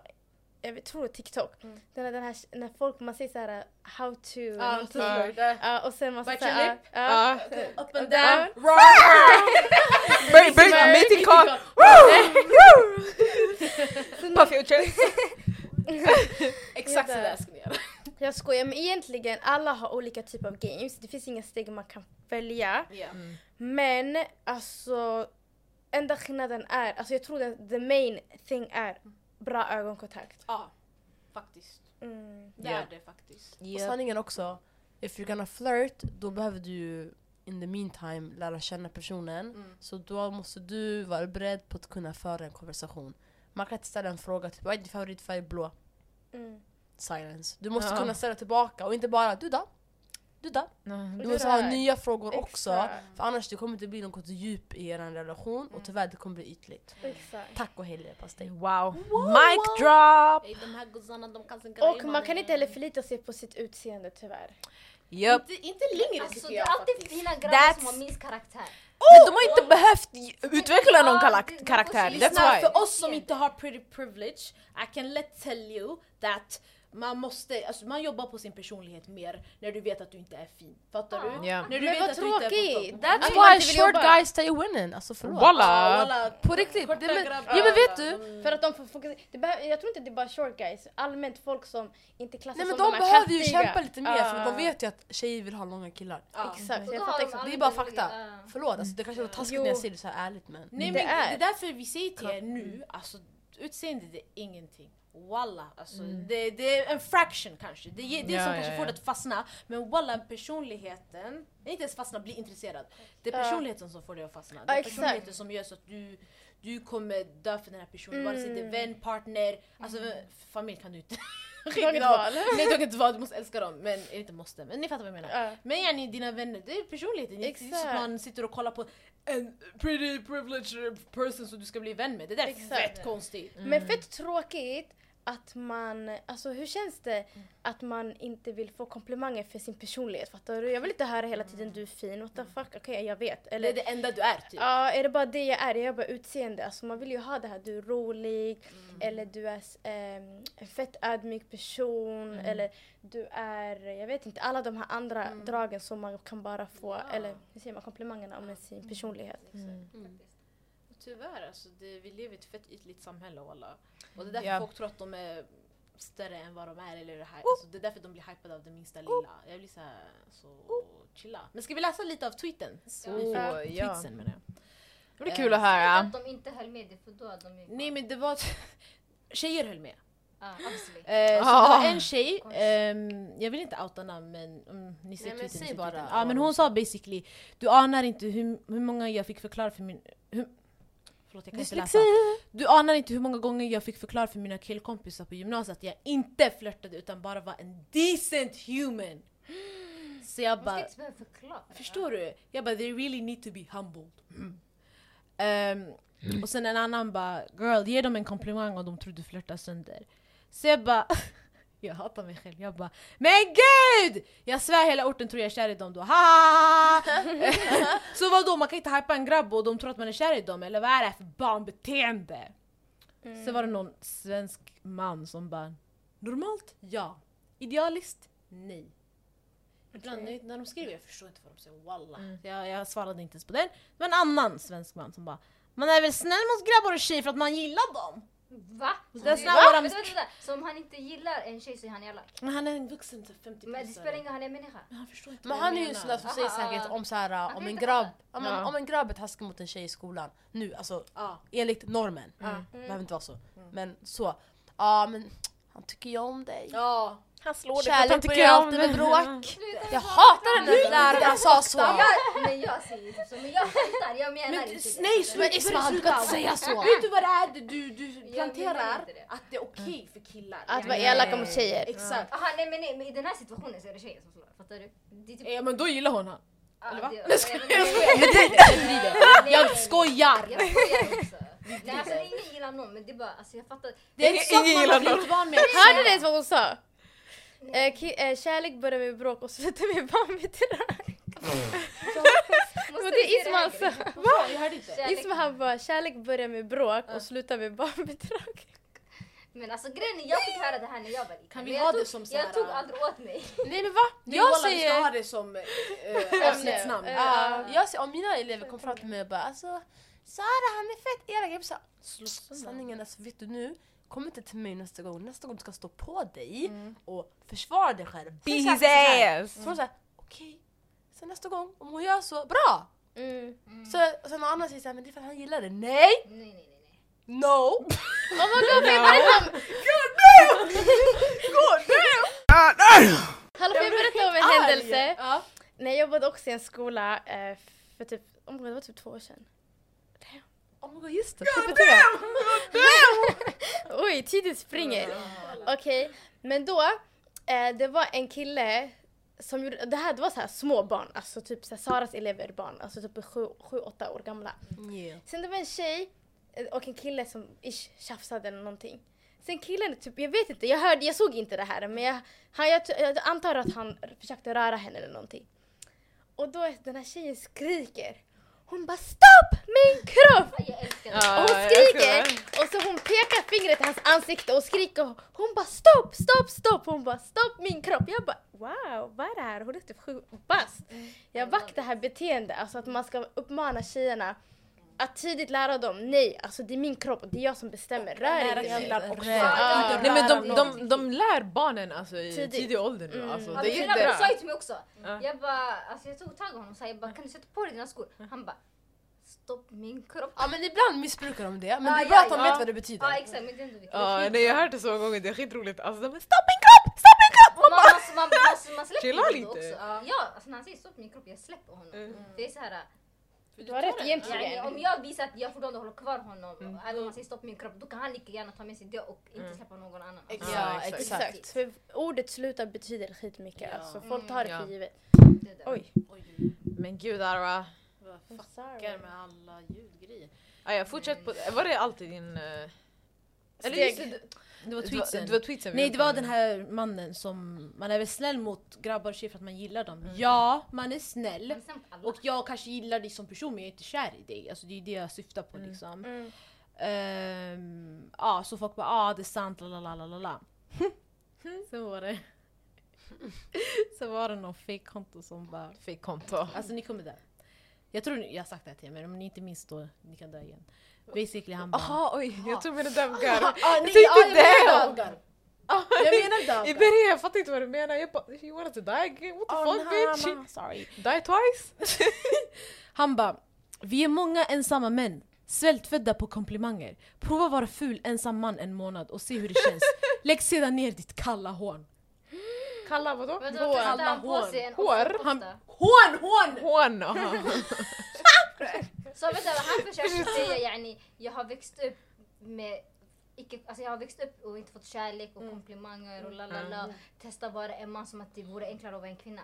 jag vet- tror det är TikTok? Den, här- den här, när folk, man säger såhär how to, Mm. Ja, någonting. typ. Där. Ja, och sen man Bite säger your såhär, lip. ja, Up and down. down. Break, break, mating call! Puff your chest! Exakt Det sådär där. ska ni göra. jag skojar men egentligen alla har olika typer av games, det finns inga steg man kan följa. Mm. Men alltså, enda skillnaden är, alltså jag tror att the main thing är bra ögonkontakt. Ja, faktiskt. Mm. Det Ja. är det faktiskt. Och sanningen också, if you're gonna flirt, då behöver du ju in the meantime lära känna personen. Så då måste du vara beredd på att kunna föra en konversation. Man kan inte ställa en fråga typ vad är din favoritfärg blå? Mm. Silence. Du måste Ja. kunna ställa tillbaka och inte bara du då? Du då? Mm. Du måste ha nya frågor också. Exakt. För annars det kommer inte bli något djup i er relation och tyvärr det kommer bli ytligt. Exakt. Tack och hej leverpastej. Wow. Mic drop! Ey, De här guzzarna de kan sin Och man kan inte heller förlita sig på sitt utseende tyvärr. Japp. Inte, inte längre Alltså tycker det är jag alltid faktiskt. fina grabbar That's- som har minst karaktär. Men de har inte behövt j- utveckla någon Ja, kalak- det- det karaktär, måste that's lyssna why. För oss som inte har pretty privilege, I can let tell you that man måste, alltså man jobbar på sin personlighet mer när du vet att du inte är fin. Fattar du? Ja. När du Men vet vad att du inte är på tråkigt. topp. That's That's why man why inte vill short jobba. guys stay winning, alltså förlåt. Ja, Walla! walla. På riktigt. Korta Det, men, grabbar. ja, men vet du? För att de får fokusera. Det behöver, jag tror inte det är bara short guys. Allmänt folk som inte klassas Nej men som de här behöver ju kattiga. kämpa lite mer för Ja. de vet Mm. ju att tjejer vill ha långa killar. Ja. Exakt, Och jag då har fattar de exakt. Det är aldrig bara blivit- ah. fakta. ja. Förlåt, alltså, det kanske var taskigt Jo. när jag säger det så här ärligt men. Nej, Det men är. det är därför vi säger till er nu, alltså utseende det är ingenting. Walla, alltså, Mm. det, det är en fraction kanske. Det är det Ja, som ja, kanske ja. får det att fastna. Men walla, personligheten, inte ens fastna, bli intresserad. Det är Ja. personligheten som får dig att fastna. Det Ja, är exakt. personligheten som gör så att du, du kommer dö för den här personen. Vare sig det är vän, partner, alltså familj kan du inte. Mm. Du har inget val. Nej du har inget val, du måste älska dem. Men, eller inte måste, men ni fattar vad jag menar. Ja. Mm. Men yani dina vänner, det är personligheten. Det är inte så att Exakt. man sitter och kollar på en pretty privileged person som du ska bli vän med. Det där är Exakt. fett konstigt. Mm. Men fett tråkigt att man, alltså hur känns det att man inte vill få komplimanger för sin personlighet? Fattar du? Jag vill inte höra hela tiden du är fin, what the fuck, okej jag vet. Det är Eller det enda du är typ. Ja, är det bara det jag är? Är jag bara utseende? Alltså man vill ju ha det här, du är rolig, eller du är ehm, en fett ödmjuk person, eller du är, jag vet inte, alla de här andra dragen som man kan bara få, eller hur säger man, komplimangerna om sin personlighet. Tyvärr alltså, det, vi lever i ett fett ytligt samhälle och alla. Och det är därför Ja. folk tror att de är större än vad de är. Eller det, här. Alltså, det är därför de blir hypade av det minsta lilla. Jag blir såhär, så chilla. Men ska vi läsa lite av tweeten? Så vi fick- Ja. Ja. tweetsen menar jag. Det blir kul att höra. Att de inte höll med dig för då hade de ju... ah, Nej men det var... Tjejer höll med. Ja, absolut. Eh, så Ah. det var en tjej, ehm, jag vill inte outa namn men mm, ni ser Nej, men tweeten. säg ni ser bara tweeten. Ja vad men de hon sa basically, du anar inte hur, hur många jag fick förklara för min... Hur, förlåt jag kan inte läsa. Du anar inte hur många gånger jag fick förklara för mina killkompisar på gymnasiet att jag inte flörtade utan bara var en decent human. Så jag Man ska bara... inte behöva förklara. Förstår du? Jag bara they really need to be humbled. Ehm, och sen en annan bara girl ge dem en komplimang och de tror du flörtar sönder. Så jag bara jag hatar mig själv. Jag bara men gud! Jag svär hela orten tror jag är kär i dem då. Ha! så vadå man kan inte hypa en grabb och de tror att man är kär i dem eller vad är det här för barnbeteende? Sen var det någon svensk man som bara normalt ja, idealiskt nej. Ibland när- när de skriver jag förstår inte vad de säger, walla. Jag, jag svarade inte ens på den. Det var en annan svensk man som bara Man är väl snäll mot grabbar och tjejer för att man gillar dem? Va? That's Så- not Va? what I'm- Vänta, vänta, vänta. Så om han inte gillar en tjej så är han elak. Men han är en vuxen typ 50 Men det plus, spelar eller? ingen roll, han är människa. Men han förstår inte Men vad jag han är ju en menar. sån där som säger Aha. säkert om så här, om kan en inte grabb, fatta. om, en- om en grabb är taskig mot en tjej i skolan, nu alltså Ja. enligt normen, Mm. Mm. det behöver inte vara så, men så, ja men han tycker ju om dig. Ja, Han slår dig för att han Kärlek tycker börjar om alltid med dig. bråk. Jag hatar när lärarna sa så. Jag, men jag säger inte så, men jag skämtar. Jag menar Men, inte det. nej sluta! Men Ismail, du kan inte säga så. Vet du vad det är du, du menar planterar? inte det. Att det är okej för killar. Att vara elak mot tjejer. Exakt. Aha, nej, men, nej, men i den här situationen så är det tjejen som slår. Fattar du? Det är typ... Eh, Ja men då gillar hon han. ah, eller va? det- Jag skojar. Nej, men- Nej, Jag skojar! Jag skojar också. Nej alltså ingen gillar någon men det är bara, alltså jag fattar. Det är en sak man blir van med. Hörde du ens vad hon sa? Eh, ki- eh, kärlek börjar med bråk och slutar med barnbidrag. Måste Och vi det är se Ismail här? sa. Jag hörde inte. Kärlek- Ismail han bara kärlek börjar med bråk och slutar med barnbidrag. Men alltså grejen är, jag fick höra det här när jag var liten. Kan Men vi jag ha tog- det som så här, Jag tog äh, aldrig åt mig. Nej men va? Nej, Jag wallah, vi ska ha säger, det som eh, avsnittsnamn. Ämne. Ja, jag säger, om mina elever kommer fram till mig och bara alltså Sara han är fett elak. Jag blir såhär, sanningen alltså vet du nu, kom inte till mig nästa gång. Nästa gång du ska stå på dig Mm. och försvara dig själv. Be Exakt his så här. ass! Så hon såhär, okej. Sen nästa gång, om hon gör så, bra! Mm. Så, och sen någon annan säger såhär, men det är för att han gillar det. Nej! Nej nej nej. nej. No! Hallå får jag berätta om en händelse? Ja. När jag jobbade också i en skola eh, för typ, oh my God, det var typ två år sedan. Oh my god just det, Oj, tiden springer. Okej, men då, eh, det var en kille som gjorde, det här det var så här små barn, alltså typ så här, Saras elever barn, alltså typ sju, sju, åtta år gamla. Yeah. Sen det var en tjej eh, och en kille som ish tjafsade eller någonting. Sen killen, typ, jag vet inte, jag hörde, jag såg inte det här men jag, han, jag, jag antar att han försökte röra henne eller någonting. Och då den här tjejen skriker. Hon bara stopp min kropp! Jag älskar det. Ja, Och hon jag skriker skojar. och så hon pekar fingret i hans ansikte och skriker och hon bara stopp, stopp, stopp! Hon bara stopp min kropp! Jag bara wow, vad är det här? Hon är typ sju bast. Jag vakt det här beteendet, alltså att man ska uppmana tjejerna att tidigt lära dem nej, alltså det är min kropp och det är jag som bestämmer. Rör Nära inte killar också. Ja. Inte Nej men röra de, någon. de, de lär barnen alltså, i Tidigt. tidig ålder nu. Mm. Alltså, Ja, det men är killarna sa inte... ju till mig också. Jag bara, alltså jag tog tag i honom och sa jag bara kan du sätta på dig dina skor? Han bara stopp min kropp. Ja men ibland missbrukar de det, men Ja, det är bra ja, att de ja. vet vad det betyder. Ja exakt men det är inte viktigt. Ja, Det nej, är jag har hört skit. det så många gånger, det är skitroligt. Alltså de är stopp min kropp! Stopp min kropp! Man, man, man, man, man släpper Chilla ju lite. då också. Ja, Ja, alltså när han säger stopp min kropp, jag släpper honom. Mm. Det är så här, Du har rätt ja, om egentligen. jag visar att jag fortfarande håller kvar honom, även om han säger stopp min kropp, då kan han lika gärna ta med sig det och inte släppa någon annan. Alltså, Ja, Ja, exakt. exakt. Exakt, för ordet sluta betyder skitmycket. Alltså folk tar det för Mm, Ja. givet. Det är det. Oj. Men gud Arwa. I'm sorry. med alla ljudgrejer. Ah, ja, fortsätt på... Var det alltid din... eh, Eller Steg. just det, det, Det var Mm. var, tweetsen. det var tweetsen vi Nej det var jobbade den med. här mannen som, man är väl snäll mot grabbar och tjejer för att man gillar dem. Ja, man är snäll. Men sen mot alla. Och jag kanske gillar dig som person men jag är inte kär i dig. Alltså det är det jag syftar på liksom. Ehm, ja, så folk bara ah det är sant, la la la la la la. Sen var det... Sen var det någon fake-konto som bara Fick konto. Alltså ni kommer dö. Jag tror ni, jag har sagt det här till er men om ni inte minns då, ni kan dö igen. Basically han bara... Jaha oj, jag tog mina damgar. ah, Jag tänkte det! dövgar! Jag menar I dövgar! början jag fattade inte vad du menade, jag bara you wanted to die again? What the Ah, fuck nah, bitch? nah, sorry. Die twice? Han bara, vi är många ensamma män. Svältfödda på komplimanger. Prova vara ful ensam man en månad och se hur det känns. Lägg sedan ner ditt kalla hån. Kalla vadå? Men då Hår. kastar han på Hår. sig en Hår. ofta. Han, hån, hån! Hån! aha. Så vänta, han försöker säga yani, jag har växt upp med Icke, alltså jag har växt upp och inte fått kärlek och komplimanger och la la la. Testa vara en man som att det vore enklare att vara en kvinna.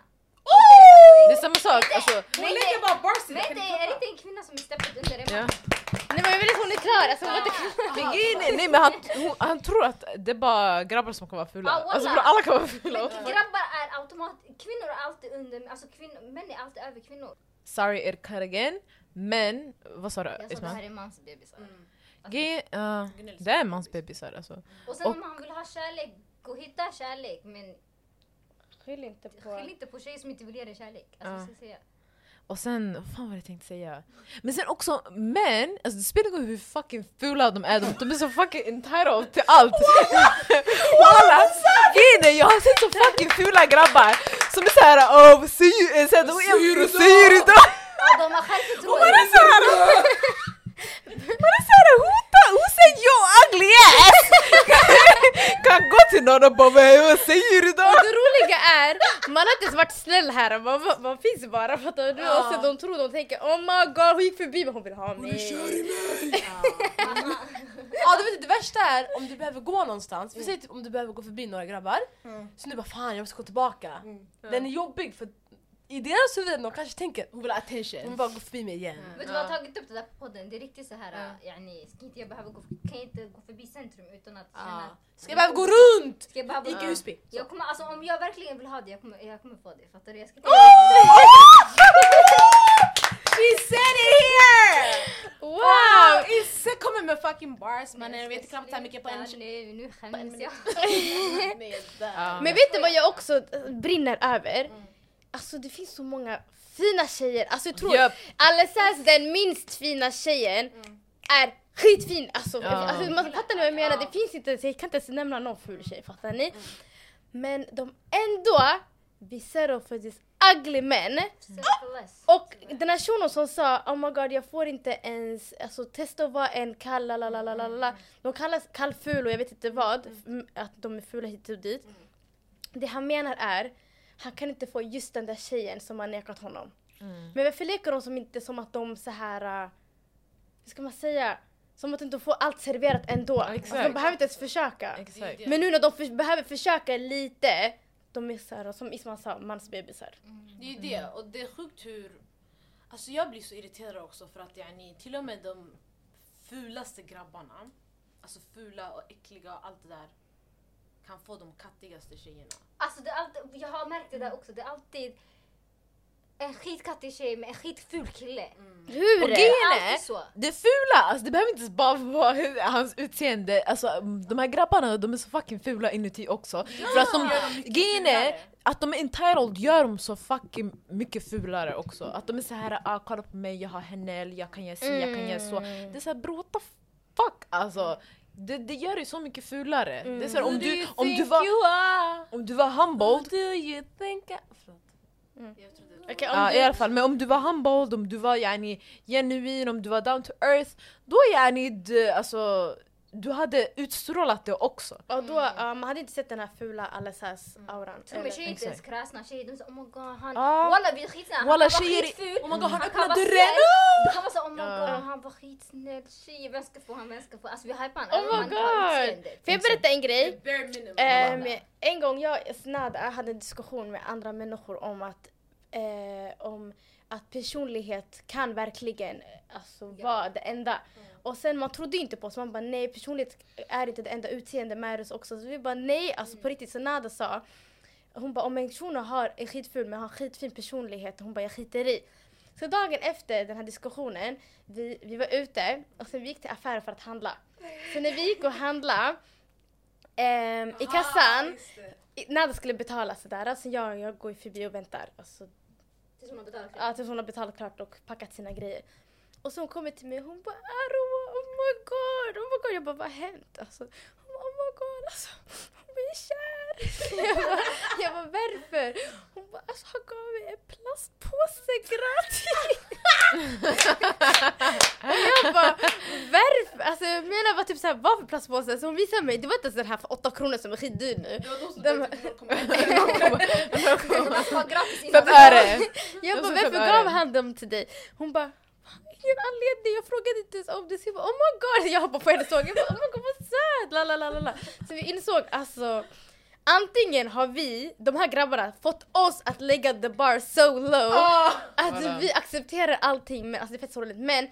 Det är samma sak, alltså Hon lägger bara barsen! Men det är det inte en kvinna som är steppet under en man? Ja. Nej men jag vill att hon är klar, alltså hon var inte klar. Det är- nej, nej men han, hon, han tror att det är bara grabbar som kan vara fula. Ah, wallah. alltså bro, alla kan vara fula. Men grabbar är automat... Kvinnor är alltid under... Alltså kvinnor, män är alltid över kvinnor. Sorry er cut again. Men, vad sa du Jag sa det här Ismail? är mansbebisar. Ge- ah, det är mans bebisar alltså. Och sen om han vill ha kärlek, gå och hitta kärlek men Skyll inte på... skyll inte på tjejer som inte vill ge dig kärlek. Alltså, Ja. vad ska jag säga. Och sen, vad fan var det jag tänkte säga? Men sen också män, alltså det spelar ingen roll hur fucking fula de är, de, de är så fucking entitled till allt! Walla! Grejen är, jag har sett så fucking fula grabbar som är såhär åh vad säger så här, de är- vad säger du då? Ja, de har Man är självförtroende. såhär... Man är såhär hota, who said yo ugly ass? kan gå till någon och bara "Men vad säger du då? Och det roliga är, man har inte ens varit snäll här, man, man finns bara fattar du? Och sen de tror, de tänker oh my god hon gick förbi men hon vill ha mig. Ja, du vet, det värsta är om du behöver gå någonstans, Mm. vi säger typ om du behöver gå förbi några grabbar, så nu bara fan jag måste gå tillbaka. Mm. Den är jobbig för i deras huvuden de kanske tänker hon vill ha attention, hon bara gå förbi mig igen. Mm. Vet du vad, jag har tagit upp det där på podden. Det är riktigt så här, yani, ska inte jag behöva gå, kan jag inte gå förbi centrum utan att känna... Ja. Ska jag behöva gå runt? Ska jag behöva... Ica Husby. Jag kommer, alltså, om jag verkligen vill ha det, jag kommer, jag kommer få det. Fattar du? Jag ska She said it here! Wow! Isse kommer med fucking bars mannen, vi vet knappt hur mycket på en Där, Alltså, nu, nu skäms jag. Men vet du vad jag också eh, brinner över? Alltså det finns så många fina tjejer, alltså jag tror Japp. Alessas den minst fina tjejen är skitfin! Alltså, alltså man fattar ni vad jag menar? Det finns inte, ens- jag kan inte ens nämna någon ful tjej fattar ni? Men de ändå be settle for these ugly men Selfless. och den här shunon som sa oh my god jag får inte ens alltså, testa att vara en kall la, la, la, la, la, la. De kallas kallful och jag vet inte vad, m- att de är fula hit och dit. Det han menar är, han kan inte få just den där tjejen som har nekat honom. Men varför leker de som inte som att de så här uh, hur ska man säga, som att de inte får allt serverat ändå. Alltså, de Exakt. behöver inte ens försöka. Exakt. Men nu när de för, behöver försöka lite, de är så här, som Isman sa, mansbebisar. Det är ju det, och det är sjukt hur... Alltså jag blir så irriterad också för att yani, till och med de fulaste grabbarna, alltså fula och äckliga och allt det där, kan få de kattigaste tjejerna. Alltså, det är alltid, jag har märkt det där också. Det är alltid en skitkattig tjej med en skitful kille. Mm. Hur? Och är det? Det är grejen är, alltid så. det fula, alltså det behöver inte ens bara vara hur- hans utseende, alltså de här grabbarna de är så fucking fula inuti också. För att de, grejen är, att de är entitled gör dem så fucking mycket fulare också. Att de är så här, ah, kolla på mig, jag har henne, eller jag kan göra si, jag kan göra så. Det är såhär bror what the fuck alltså. Det, det gör dig så mycket fulare. Det är så här, om, Mm. du, om, du var, om du var humbled, Okej, om Ja, du- i alla fall, men om du var humbled, om du var yani, genuin, om du var down to earth, då yani, du, alltså, du hade utstrålat det också. Och då, ja, man hade inte sett den här fula Alessas auran. Tror mig Eller- tjejer inte ens Exakt. kräsna tjejer, de säger oh my god han, Ja. walla vi är skitsnälla, Walla, han kan vara tjejer- skitful, oh my god, han kan öppnar vara dörren. snäll. Han var såhär oh my Ja. god han var skitsnäll, tjejer vem ska få han, vem ska få, alltså vi hypar honom, Oh my god! Får jag berätta en grej? Ehm, en gång jag, Snada, hade en diskussion med andra människor om att, eh, om att personlighet kan verkligen eh, alltså, vara det enda. Och sen man trodde ju inte på oss, man bara nej personlighet är inte det enda, utseende matters också. Så vi bara nej, alltså på riktigt. Så Nada sa, hon bara om en person har, är skitful men har skitfin personlighet, hon bara jag skiter i. Så dagen efter den här diskussionen, vi, vi var ute och sen vi gick till affären för att handla. Så när vi gick och handlade ehm, i kassan, i- när det skulle betala sådär, alltså jag, jag går ju förbi och väntar. Alltså, berätta. ja, tills hon har betalat klart och packat sina grejer. Och så hon kommer till mig och hon bara Aro, oh my god, oh my god. Jag bara vad har hänt? Alltså, hon bara, oh my god, alltså, hon bara jag är kär. Jag bara, jag bara varför? Hon bara alltså han gav mig en plastpåse gratis. och jag bara varför? Alltså jag menar bara typ såhär varför plastpåse? Så hon visar mig, det var inte ens den här för 8 kronor som är skitdyr nu. Den- Man ska vara gratis innan. Fem öre! Jag Jag bara som varför förvärrar. gav han dem till dig? Hon bara ingen anledning, jag frågade inte ens om det. Så jag bara oh my god, jag hoppade på hennes såg. Jag bara oh my god vad söt! La, la, la, la, la. Så vi insåg alltså Antingen har vi, de här grabbarna, fått oss att lägga the bar so low Ah, att vi accepterar allting, men alltså det är fett sorgligt. Men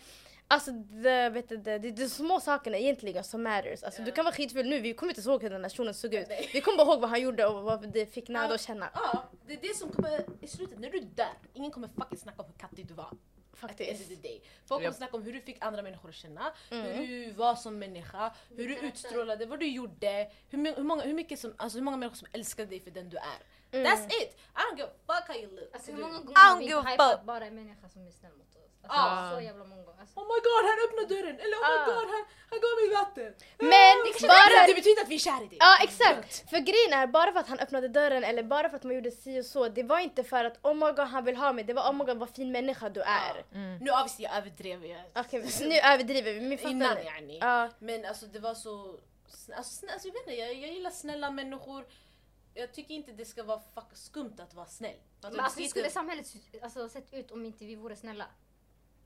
alltså det, vet du, det, det är de små sakerna egentligen som matters. Alltså du kan vara skitfull nu, vi kommer inte ens ihåg hur den där shunon såg ut. Vi kommer bara ihåg vad han gjorde och vad det fick Nado att känna. Ja, det är det som kommer i slutet, när du är där, ingen kommer fucking snacka om hur kattig du var. Faktiskt. Mm. Faktiskt. Folk kommer Japp. snacka om hur du fick andra människor att känna, hur du var som människa, hur du utstrålade, vad du gjorde, hur, my- hur, många, hur, mycket som, alltså, hur många människor som älskar dig för den du är. Mm. That's it! I don't give a fuck how you look. Alltså hur många gånger har vi give inte a hypat fuck. bara en människa som är snäll mot oss? Alltså Ja. så jävla många gånger. Alltså, Oh my god, han öppnade dörren! Eller oh my god, han, han gav mig vatten! Men Ah. bara Det betyder att vi är typ kär i dig! Ja exakt! För grejen är, bara för att han öppnade dörren eller bara för att man gjorde si och så, det var inte för att oh my god han vill ha mig, det var oh my god vad fin människa du är. Nu obviously jag överdrev jag. Okej men nu överdriver vi, men fattar Innan ni? yani. Ja. Men alltså det var så... Sn- Alltså, sn- alltså, jag, vet inte, jag, jag gillar snälla människor. Jag tycker inte det ska vara fuck, skumt att vara snäll. Alltså, Men alltså det hur ska skulle inte- typ- samhället se- alltså, sett ut om inte vi vore snälla?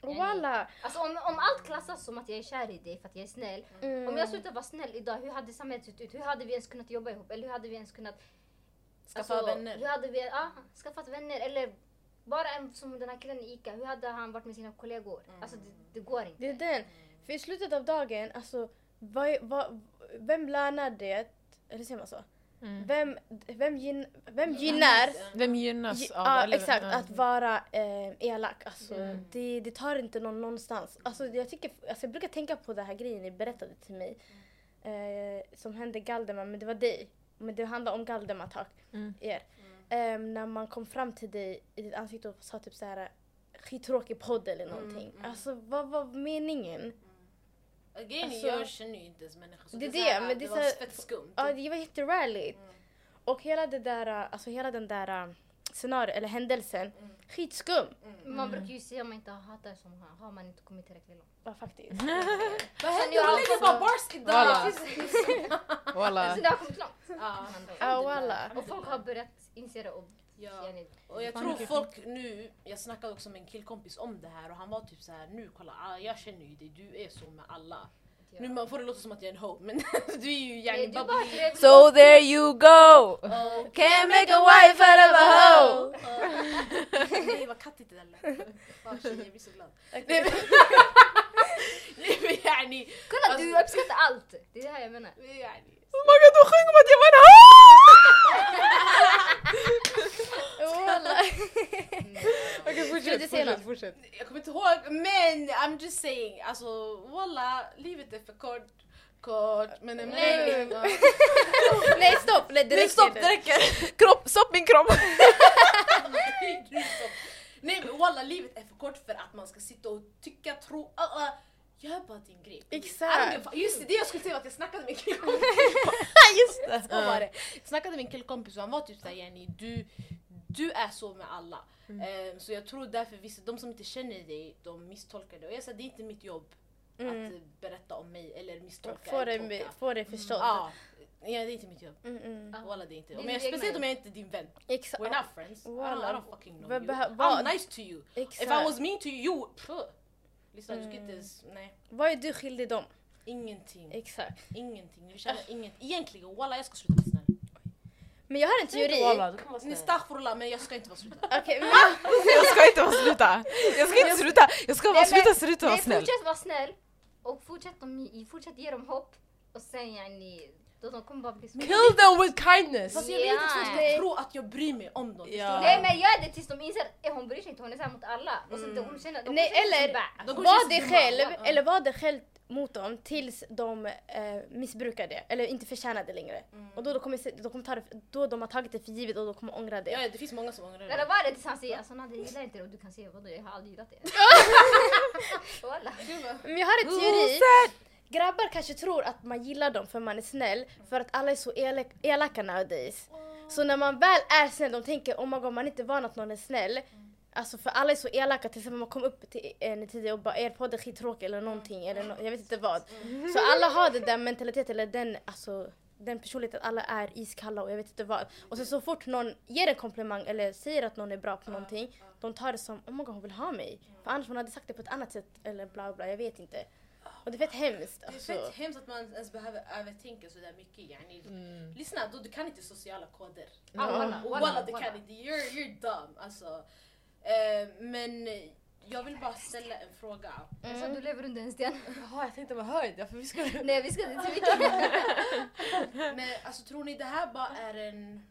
Och Walla! Alltså om, om allt klassas som att jag är kär i dig för att jag är snäll. Mm. Om jag slutar vara snäll idag, hur hade samhället sett ut? Hur hade vi ens kunnat jobba ihop? Eller hur hade vi ens kunnat skaffa alltså, Hur vänner. hade vi ah, skaffat vänner? Eller bara en som den här killen i ICA, hur hade han varit med sina kollegor? Mm. Alltså det, det går inte. Det är den. För i slutet av dagen, alltså, vad, vad, vem lönar det? Eller säger man så? Mm. Vem, vem, gyn, vem gynnar Vem gynnas Ge- av... ja, eller- exakt. ja. Mm. Att vara eh, elak. Alltså, det, det tar inte någon någonstans. Alltså, jag, tycker, alltså, jag brukar tänka på den här grejen ni berättade till mig. Eh, som hände Galdemar, men det var dig. Men det handlar om Galdemar tak. Mm. Er. Ehm, när man kom fram till dig i ditt ansikte och sa typ så här skittråkig podd eller någonting. Alltså vad var meningen? Again, Alltså- jag känner ju inte ens människor. så Det är så här, det, men det är var så här- fett skumt. Ja, det var jätterarligt. Och hela det där, alltså hela den där eh, scenario eller händelsen, skitskum. Mm. Man brukar ju säga om man inte hatar som han, har man inte kommit tillräckligt långt. Ja, faktiskt. Vad händer? Jag lägger bara bars idag! Voilà. Alltså Voilà. det har kommit långt. Ja. Ja, walla. Och folk har börjat inse det och Ja. yani, Och jag tror folk nu, jag snackade också med en killkompis om det här och han var typ så här nu kolla ah, jag känner ju dig, du är så med alla. Ja. Nu man får det låta som att jag är en hoe men du är ju Nej, yani du är bubbly. bara trevlig. So there you go! Oh, Can't make a wife out of a hoe! Nej vad kattigt det där lät. Fan tjejer, jag blir så glad. Nej men- Nej, men yani, Kolla Alltså- du uppskattar allt! Det är det här jag menar. yani. Oh my god, de sjöng om att jag var en hoe! Okej Skulle du fortsätt, säga fortsätt, något? fortsätt. Jag kommer inte ihåg men I'm just saying alltså walla livet är för kort. Kort men en mening. Ja. Nej stopp! Nej, det Nej stopp, det räcker! Kropp, stopp min kropp! Nej, du är så- Nej men walla livet är för kort för att man ska sitta och tycka, tro, uh, uh. Gör bara din grej. Exakt! Fan, Just det, det jag skulle säga var att jag snackade med en killkompis. Just det! Så var det. Jag snackade med en killkompis och han var typ såhär Jenny, du, du är så med alla. Mm. Ehm, så jag tror därför vissa, de som inte känner dig, de misstolkar det. Och jag sa det är inte mitt jobb att eh, berätta om mig eller misstolka. Mm. Få eller det, tolka. få det förstått. Ja, ja, det är inte mitt jobb. Mm, mm. Walla det är inte. Det är Om jag, din egna speciellt om jobb. jag inte är din vän. Exakt. We're not friends. I don't, I Walla. don't fucking know Vad you. behö- I'm vad- nice to you. If I Exakt. was mean to you, pff. Lyssna du ska inte ens, nej. Vad är du skyldig dem? Ingenting, Exakt. ingenting. Vi tjänar inget. Egentligen walla jag ska sluta vara snäll. Men jag har en teori. Okej, Nestafrullah men jag ska inte vara snäll. men Ah! Jag ska inte vara sluta! Jag ska inte sluta! Jag ska vara Nej, men- sluta så du inte vara Nej, snäll! fortsätt vara snäll och fortsätt, dem, fortsätt ge dem hopp och sen yani, då de kommer bara bli så... Kill them with kindness! Fast jag vill inte att folk Ja. ska tro att jag bryr mig om dem. Ja. Förstår Nej men gör det tills de inser att eh, hon bryr sig inte, hon är såhär mot alla. Och sen de hon känner, de Mm. Nej, kommer känna sig eller- bad. De kommer var känna sig det dumma. själv, Ja. eller var det själv mot dem tills de eh, missbrukar det eller inte förtjänar det längre. Mm. Och då, då, kommer, se- då, kommer ta det, då de har tagit det för givet och då kommer ångra det. du? Ja, det finns många som ångrar Eller det. var det tills han säger alltså Nadja jag gillar inte det och du kan säga vadå jag har aldrig gillat det. Walla. Men jag har en teori. Grabbar kanske tror att man gillar dem för man är snäll för att alla är så elak, elaka nowadays. Så när man väl är snäll, de tänker oh my god man är inte van att någon är snäll. Alltså för alla är så elaka till exempel man kom upp till en tidigare och bara er podd är skittråkig eller någonting eller nå- jag vet inte vad. Så alla har den där mentaliteten eller den alltså den personligheten att alla är iskalla och jag vet inte vad. Och sen så fort någon ger en komplimang eller säger att någon är bra på någonting, de tar det som oh my god hon vill ha mig. För annars hon hade sagt det på ett annat sätt eller bla bla, jag vet inte. Och det är fett hemskt. Det är Alltså. fett hemskt att man ens behöver övertänka sådär mycket. Yani. Lyssna, då, du kan inte sociala koder. Ah, walla, Mm. Walla, walla, du walla. kan inte. You're, you're dumb. Alltså. Eh, men jag vill bara ställa en fråga. Jag sa du lever under en sten. Jaha jag tänkte vad höjd, ja, för vi skulle... Nej vi ska inte till vilken. Men alltså tror ni det här bara är en...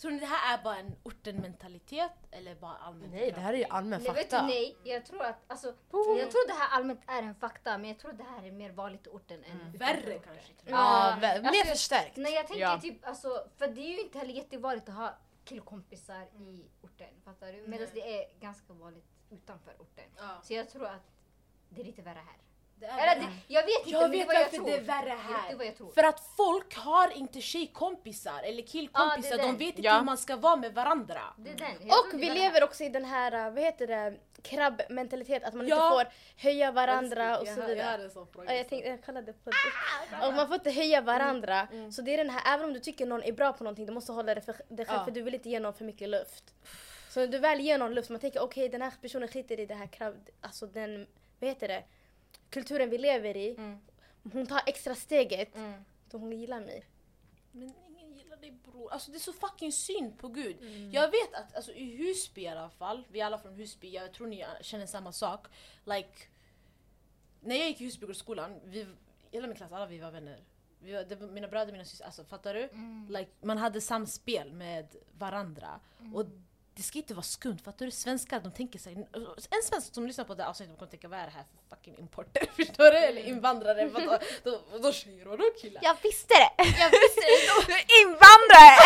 Tror ni det här är bara en orten-mentalitet eller bara allmänt? Nej det här är ju allmän Nej vet du fakta. nej, jag tror att alltså, jag tror det här allmänt är en fakta men jag tror det här är mer vanligt i orten än Mm. Värre kanske. Tror jag. Ja, vä- Alltså, mer jag- förstärkt. Nej jag tänker Ja. typ alltså, för det är ju inte heller jättevanligt att ha killkompisar Mm. i orten. Fattar du? Medan Nej. det är ganska vanligt utanför orten. Mm. Ja. Så jag tror att det är lite värre här. Det är Eller, det, jag vet inte Jag men det vet är vad jag varför tror. det är värre här. Det är vad jag tror. För att folk har inte tjejkompisar eller killkompisar, Ja, det är de det. vet inte Ja. hur man ska vara med varandra. Det är den. Jag tror Och det vi är lever också i den här, äh, vad heter det, krabbmentalitet. Att man Ja. inte får höja varandra och så Jag vidare. hade en sån fråga. Ja, jag, tänkte, jag kollade på det. Och man får inte höja varandra. Så det är den här, även om du tycker någon är bra på någonting, du måste hålla det för dig själv Ja. för du vill inte ge någon för mycket luft. Så när du väl ger någon luft, man tänker okej den här personen skiter i det här krav, alltså den, vad heter det, kulturen vi lever i. Hon tar extra steget, Mm. då hon gillar mig. Men ingen gillar dig bror. Alltså det är så fucking synd på gud. Jag vet att alltså, i Husby i alla fall, vi är alla från Husby, jag tror ni känner samma sak. Like, när jag gick i Husbygårdsskolan, vi, hela min klass, alla vi var vänner. Vi var, det var mina bröder, mina systrar, alltså fattar du? Like, man hade samspel med varandra. Och det ska inte vara skumt, fattar du? Svenskar de tänker sig, en svensk som lyssnar på det här avsnittet kommer tänka vad är det här för fucking importer? Förstår du? Eller invandrare, vadå? Då, då, då tjejer och då killar. Jag visste det! Du är invandrare!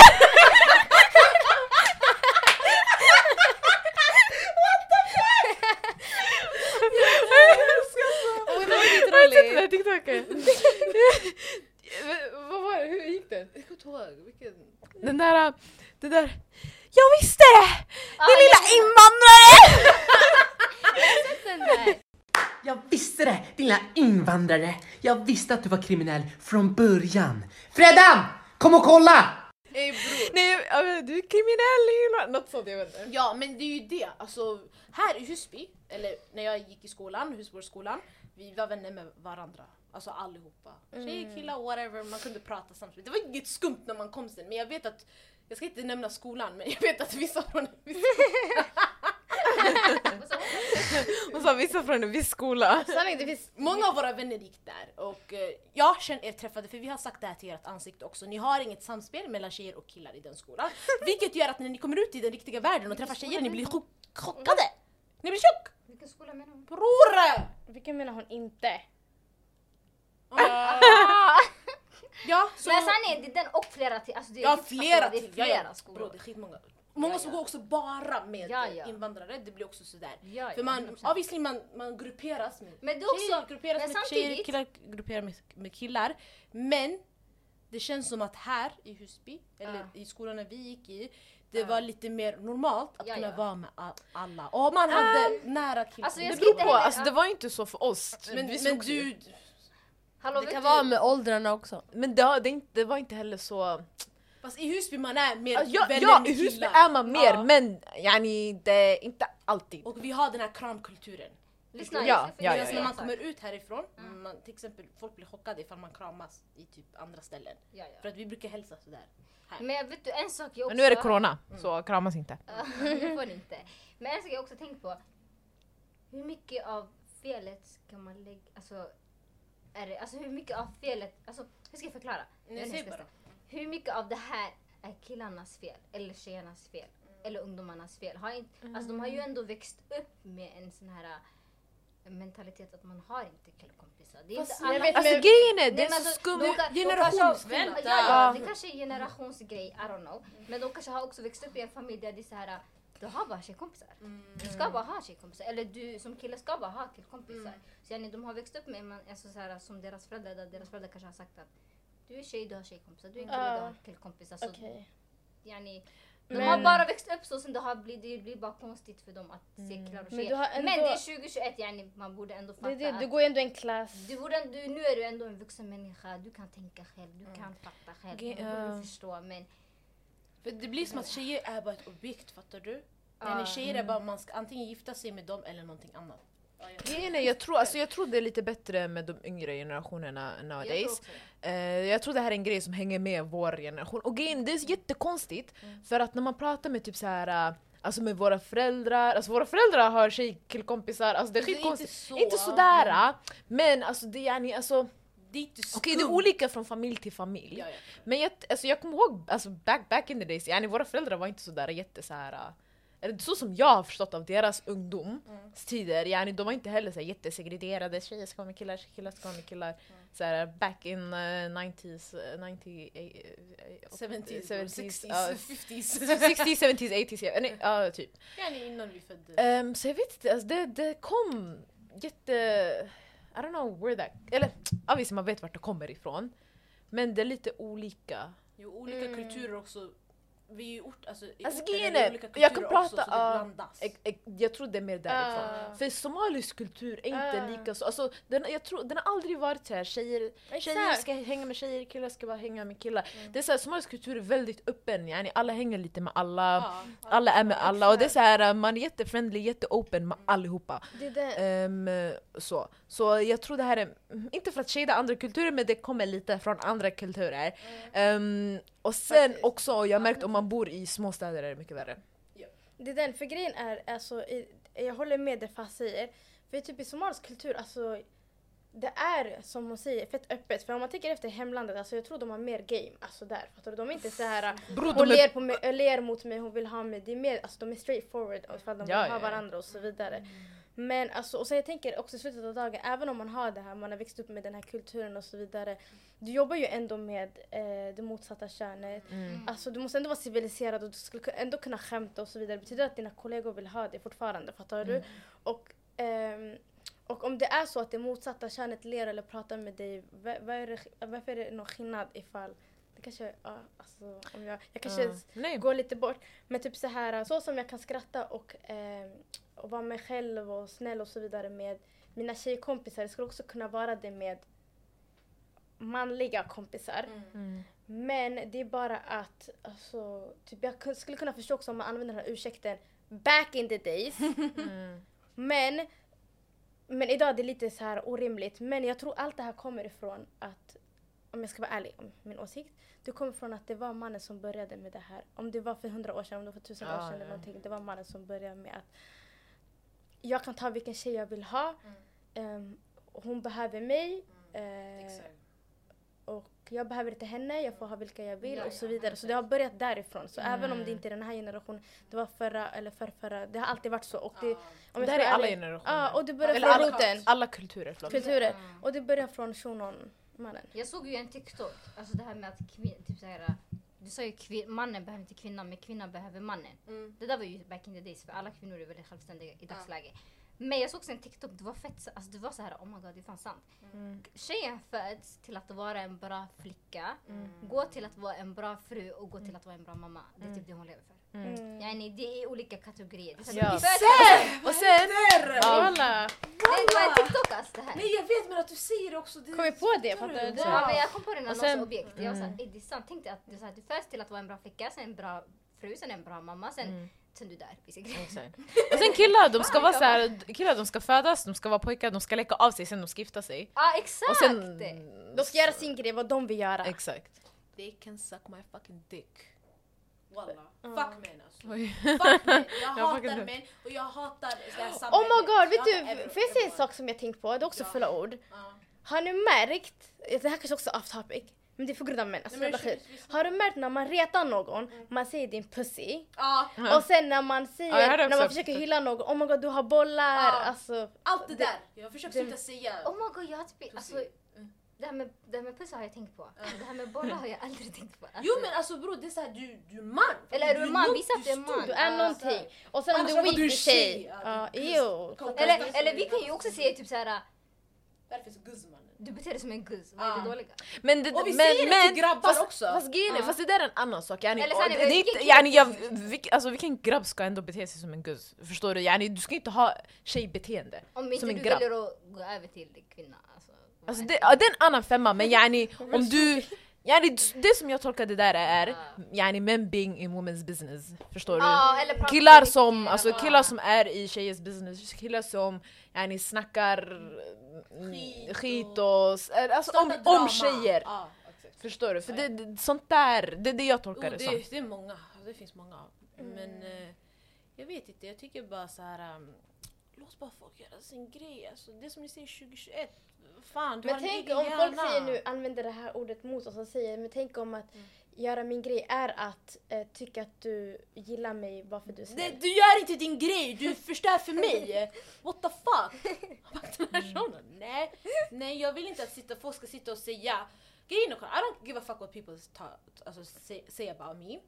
Och det var Har du sett den här TikToken? Vad var det? Hur gick den? Jag kommer inte ihåg. Vilken? Den där, den där Jag visste det! Ah, Din lilla invandrare! jag vet den där. Jag visste det, din lilla invandrare. Jag visste att du var kriminell från början. Fredan! Kom och kolla! Ey bror. Nej, jag vet, du är kriminell! Lina. Något sånt, jag vet inte. Ja men det är ju det. Alltså, här i Husby, eller när jag gick i skolan, Husborgsskolan, vi var vänner med varandra. Alltså allihopa. Mm. Tjejer, killar, whatever. Man kunde prata samtidigt. Det var inget skumt när man kom sen men jag vet att, jag ska inte nämna skolan men jag vet att vissa från vissa Hon sa vissa från en viss skola. Sanningen, det finns Många av våra vänner gick där och eh, jag känner er träffade för vi har sagt det här till ert ansikte också. Ni har inget samspel mellan tjejer och killar i den skolan. Vilket gör att när ni kommer ut i den riktiga världen och träffar tjejer ni blir chock- chockade. Ni blir chock! Vilken skola menar hon? Bror! Vilken menar hon inte? Ja, så... Men sanningen, det är den och flera till. Alltså, det är Jag har djupt, flera alltså, till. Det är Ja, ja. flera Bror skolor. det är skitmånga. Många som Ja, ja. går också bara med Ja, ja. invandrare, det blir också sådär. Ja, ja, För man, 100%. obviously man, man grupperas med Men det är också- tjejer, grupperas men med tjejer, samtidigt- killar grupperas med, med killar. Men det känns som att här i Husby, eller Ja. i skolan vi gick i, det var lite mer normalt att Ja, kunna ja. Ah. vara med a- alla. Och man hade nära killar. Alltså, jag Det ska beror inte på, heller- alltså, det var ju inte så för oss. men, Vi men sågs ju. du, Hallå, Det vet kan du- vara med åldrarna också. men det, har- det, är inte- det var inte heller så... fast i Husby man är mer Alltså, ja, vänner ja, med i Husby killar. är man mer, Ja. men yani, det, inte alltid. Och vi har den här kramkulturen. Lyssna, Ja, jag ska ja, förklara. ja, Medan när man kommer ut härifrån, Mm. man, till exempel folk blir chockade ifall man kramas i typ andra ställen. Ja, ja. För att vi brukar hälsa sådär. Här. Men vet du, en sak jag också... Men nu är det corona, så kramas inte. Ja, det får ni inte. Men en sak jag också tänkt på. Hur mycket av felet kan man lägga... Alltså, är det, alltså hur mycket av felet... Alltså, hur ska jag förklara? Jag vet inte säg hur jag ska bara. säga. Hur mycket av det här är killarnas fel? Eller tjejernas fel? Mm. Eller ungdomarnas fel? Har inte, alltså, de har ju ändå växt upp med en sån här äh, mentalitet att man har inte killkompisar. Det är Fast inte alla- jag vet, Alltså men- grejen är, det Nej, är men så alltså, skumt. de kan- de generation- kanske har- Vänta. Ja, Ja. ja, det kanske är en generationsgrej, I don't know. Men de kanske har också växt upp i en familj där det är så här, du har bara tjejkompisar. Du ska bara ha tjejkompisar. Eller du som kille ska bara ha killkompisar. Så yani, de har växt upp med, man, alltså, så här, som deras föräldrar, där deras föräldrar kanske har sagt att du är tjej, du har tjejkompisar. Du är en kille, du Ja. har killkompisar. Så Ah. Okej. yani, de Men- har bara växt upp så, sen det, har blivit, det blir bara konstigt för dem att se killar och Mm. Men du tjejer. har Men, ändå- det är 2021, yani, man borde ändå fatta Det, är det, att du går ju ändå en klass. du borde, ändå- du, nu är du ändå en vuxen människa, du kan tänka själv, du kan fatta själv, du borde förstå men... För det blir som att tjejer är bara ett objekt, fattar du? Men Ja. tjejer är bara, man ska antingen gifta sig med dem eller någonting annat. Grejen är, jag tror, alltså, jag tror det är lite bättre med de yngre generationerna nowadays. Jag tror också det. Eh, jag tror det här är en grej som hänger med vår generation. Och grejen, det är jättekonstigt för att när man pratar med typ så här, eh, alltså med våra föräldrar, alltså våra föräldrar har tjej killkompisar, alltså det är Det är inte skitkonstigt. så. Inte sådär! eh, Men alltså det är ni, alltså Det är inte skumt. Okej det är olika från familj till familj. Ja, ja. Men jag, alltså, jag kommer ihåg alltså, back, back in the days, yani, våra föräldrar var inte sådär jätte såhär äh, eller så som jag har förstått av deras Mm. ungdomstider, yani, de var inte heller så här jättesegregerade, tjejer ska vara med killar, killar ska vara med killar. Mm. Så här, back in eh, 90s, eh, 90, eh, eh, 70s, 70s, 60s, ja. 50s. 60s, 70s, 80s, ja, nej, ja, typ. Gärna innan vi föddes. Ehm, så jag vet inte, alltså, det, det kom jätte... I don't know where that... Eller obviously man vet vart det kommer ifrån. Men det är lite olika. Jo, olika kulturer också. Vi är ju ort, mm. alltså, i Alltså, orten är det grejen är, olika jag kulturer kan också, så prata det om- blandas. Ex- ex- E, Jag tror det är mer därifrån. Ah. För somalisk kultur är inte Ah. lika så. Alltså, den, jag tror, den har aldrig varit så här. Tjejer, tjejer Exakt. ska hänga med tjejer, killar ska bara hänga med killar. Det är så här, somalisk kultur är väldigt öppen. Yani alla hänger lite med alla. Alla är med alla och det är så här, man är jättefriendly, jätteopen med allihopa. Det är det. Ehm, så. så jag tror det här är, inte för att shada andra kulturer men det kommer lite från andra kulturer. Ehm, och sen Faktiskt. också, jag har märkt om man bor i småstäder är det mycket värre. Det är den, för grejen är, alltså, i- jag håller med det Fas säger. För typ i somalisk kultur, alltså det är som hon säger, fett öppet. För om man tänker efter hemlandet, alltså jag tror de har mer game. Alltså där, fattar du? De är inte så här Bro, hon de är ler, på mig, äh, ler mot mig, hon vill ha mig. Det är mer, alltså de är straight forward ifall de Ja, ja, vill ha ja. varandra och så vidare. Men alltså, och sen jag tänker också i slutet av dagen, även om man har det här, man har växt upp med den här kulturen och så vidare. Du jobbar ju ändå med eh, det motsatta könet. Mm. Alltså du måste ändå vara civiliserad och du skulle ku- ändå kunna skämta och så vidare. Det betyder att dina kollegor vill ha det fortfarande, fattar du? Mm. Och, ehm, och om det är så att det motsatta könet ler eller pratar med dig, va- vad är det, varför är det någon skillnad ifall det kanske, ja, alltså, om jag, jag kanske Ja. Nej. går lite bort. Men typ så här, så som jag kan skratta och, ehm, och vara mig själv och snäll och så vidare med mina tjejkompisar, jag skulle också kunna vara det med manliga kompisar. Mm. Men det är bara att, alltså, typ jag kun- skulle kunna förstå också om man använder den här ursäkten back in the days. Men, men idag är det lite så här orimligt. Men jag tror allt det här kommer ifrån att, om jag ska vara ärlig om min åsikt, det kommer från att det var mannen som började med det här. Om det var för hundra år sedan, om det var för tusen år Ja, sedan eller ja. någonting. Det var mannen som började med att jag kan ta vilken tjej jag vill ha. Ehm, hon behöver mig. eh, Exakt. och jag behöver inte henne, jag får ha vilka jag vill Ja, och så ja, vidare. Så det har börjat därifrån. Så även om det inte är den här generationen, det var förra eller förrförra, det har alltid varit så. Och det, om jag Det här ska är vara alla ärlig- generationer. Ja, och det börjar Eller från alla- roten. Alla kulturer, förlåt. Kulturer. Mm. Och det börjar från shunon-mannen. Jag såg ju en TikTok, alltså det här med att kvin, typ så här, du sa ju kvin, mannen behöver inte kvinnan men kvinnan behöver mannen. Det där var ju back in the days för alla kvinnor är väldigt självständiga i dagsläget. Men jag såg också en TikTok, det var fett, så- alltså det var så här oh my god det är fan sant. Tjejen föds till att vara en bra flicka, går till att vara en bra fru och går till att vara en bra mamma. Det är typ det hon lever för. Mm. Yani, det är olika kategorier. Det är, så här, Ja. du föds, Och sen... Ja, Kolla! det var en TikTok alltså det här. Nej jag vet men att du säger det också. Det Kom vi på det? Fattar du? Fattar du? Ja, men jag kom på den när Och någon sen- Mm. sa objekt. Jag var såhär, "Ey, det är sant. Tänk dig att du, så här, du föds till att vara en bra flicka, sen en bra fru, sen en bra mamma, sen, Mm. sen du dör. basically. exakt. Och sen killar, de ska vara så här, killar de ska födas, de ska vara pojkar, de ska leka av sig, sen de ska gifta sig. Ja, exakt! Och sen... De ska göra sin grej, vad de vill göra. Exakt. They can suck my fucking dick. Walla. Fuck män alltså. Fuck män. Jag hatar män och jag hatar det här Oh samhället. my god, vet Jag du, hatar euro- får jag säga en euro. sak som jag tänkt på? Det är också Ja. fulla ord. Ja. Har ni märkt, det här kanske också är off topic, men det är på grund av män. Alltså, Nej, men jävla vi- skit. Har du märkt när man retar någon, man säger din pussy, Ja, Ja. och sen när man Ja, jag säger, hörde när också man det. försöker hylla någon, oh my god du har bollar, Ja. alltså. allt det Det- där. Jag försöker sluta säga. Oh my god, jag har typ... Alltså, Mm. det här med, det här med pussar har jag tänkt på. Det här med bollar har jag aldrig tänkt på. Alltså, Jo men alltså bror det är såhär du, du är man. Eller är du man? nog- Visa att du är stor. man. Du är Ja, någonting. Och sen om Annars du var är du weak tjej. tjej. Ja, Ja, Kom, ew. kom, Eller, kom. eller vi kan ju också säga typ såhär, Därför är så guzzmannen. du beter dig som en guzz. Vad är Ah. det dåliga? Men det, Och vi men, säger det men, till grabbar fast, också. Fast grejen är, fast det där är en annan sak. Yani, Eller Eller så här, det, nej, men är inte, vilken yani, jag, vilk, alltså, vilken grabb ska ändå bete sig som en guzz? Förstår du? Yani, du ska inte ha tjejbeteende Om inte som du en grabb. väljer att gå över till kvinna. Alltså, vad Alltså är det, ja, det är en annan femma men yani om du Yani, det som jag tolkar det där är, yani men being in women's business, förstår du? Ja, eller prata killar mycket, som, alltså ja. killar som är i tjejers business, killar som yani snackar mm, Skit och- skit och, s- alltså om, Starta drama. om tjejer. Ja, exakt. Förstår du? För det, det, sånt där, det är det jag Jo, tolkar det som. Oh, det, det är många, det finns många. Mm. Men eh, jag vet inte, jag tycker bara så här. Um, låt bara folk göra sin grej. Alltså, det som ni säger 2021, fan du Men har en tänk egen om folk hjärna. säger nu, använder det här ordet mot oss och säger, men tänk om att göra min grej är att eh, tycka att du gillar mig bara för att du är Det, snäll. du gör inte din grej, du förstör för mig! What the fuck? Vakt den här personen. Nej, nej jag vill inte att sitta, folk ska sitta och säga Grejen är, I don't give a fuck what people ta, alltså, say, say about me.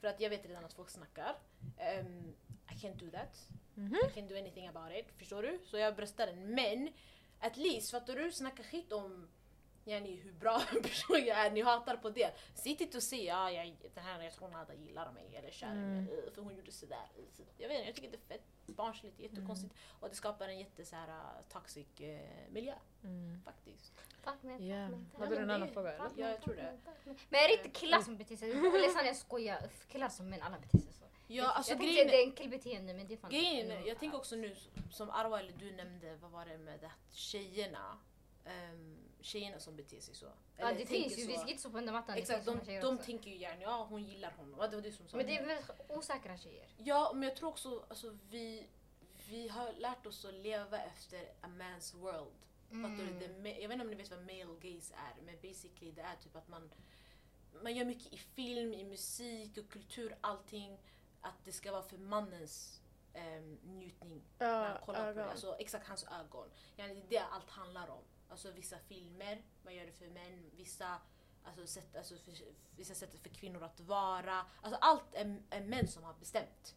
För att jag vet redan att folk snackar. Ehm, I can't do that. I can't do anything about it. Förstår du? Så jag bröstar den. Men at least, fattar du? Snacka skit om yani, hur bra en person jag är, ni hatar på det. Sitt inte och säg ja, jag, den här, jag tror Nada gillar mig eller kär i mig Mm. eh, för hon gjorde sådär. Jag vet inte, jag tycker det är fett barnsligt, jättekonstigt Mm. och det skapar en jätte så här, eh, toxic eh, miljö faktiskt. Fuck me, fuck Yeah. me, fuck Hade Mm. du me. en annan fråga Fuck eller? me, Ja, jag fuck tror me, det. fuck me. Men är det inte killar som beter sig så? Eller sann jag skojar, Uff, killar som män alla beter sig så. Ja, jag, alltså jag tänkte grejen- det är en killbeteende men det Mm. är fan Grejen, jag tänker också nu som Arwa eller du nämnde, vad var det med det att tjejerna ehm, Tjejerna som beter sig så. Ja Eller det tänker finns ju, så. vi ska inte sopa under mattan. det Exakt, finns de, såna tjejer de också. tänker ju gärna ja hon gillar honom. Ja, det var det som sa. Men det är väl osäkra tjejer. Ja men jag tror också alltså, vi, vi har lärt oss att leva efter a man's world. Fattar du? Det är ma- jag vet inte om ni vet vad male gaze är men basically det är typ att man man gör mycket i film, i musik och kultur, allting. Att det ska vara för mannens ehm, njutning när han kollar på det. Alltså, exakt hans ögon. Ja, det är det allt handlar om. Alltså vissa filmer, man gör det för män. Vissa, alltså, sätt, alltså, för, vissa sätt för kvinnor att vara. Alltså allt är, är män som har bestämt.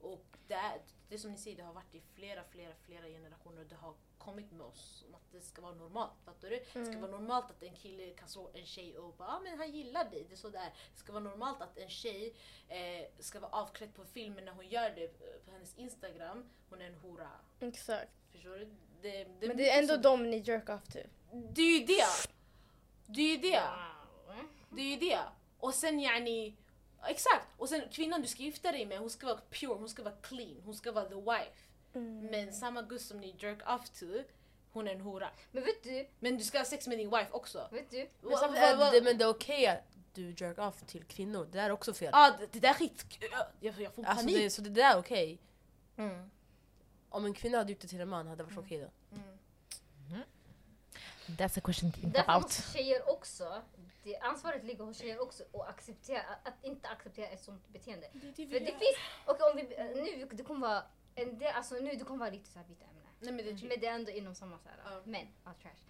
Och det, är, det är som ni säger, det har varit i flera, flera, flera generationer och det har kommit med oss om att det ska vara normalt. Fattar du? Det Mm. ska vara normalt att en kille kan slå en tjej och bara ah, men han gillar dig. Det är så det är. Det ska vara normalt att en tjej eh, ska vara avklädd på filmen när hon gör det eh, på hennes Instagram. Hon är en hora. Exakt. Förstår du? Det, det, Men det är ändå mycket dem ni jerk off till. som- Det är ju det! Det är ju det! Wow. Det är ju det. Och sen yani, exakt. Och sen kvinnan du ska gifta dig med, hon ska vara pure, hon ska vara clean, hon ska vara the wife. Men samma gud som ni jerk off to, hon är en hora. Men vet du, Men du ska ha sex med din wife också. vet du? Men, Well, samtidigt är well, det, men det är okej att du jerk off till kvinnor, det där är också fel. ah, det, det där är skit... Jag, jag får Alltså panik. Mm. det, så det där är okej. Om en kvinna hade gjort det till en man hade det varit okej då. That's a question to think Därför about. måste tjejer också, det, ansvaret ligger hos tjejer också och acceptera, att inte acceptera ett sånt beteende. För det finns, och om vi, nu, det kommer vara, en del, alltså nu det kommer vara riktigt såhär byta ämne. Nej men det är typ... Men det är ändå inom samma såhär, Ja. men, ja trash.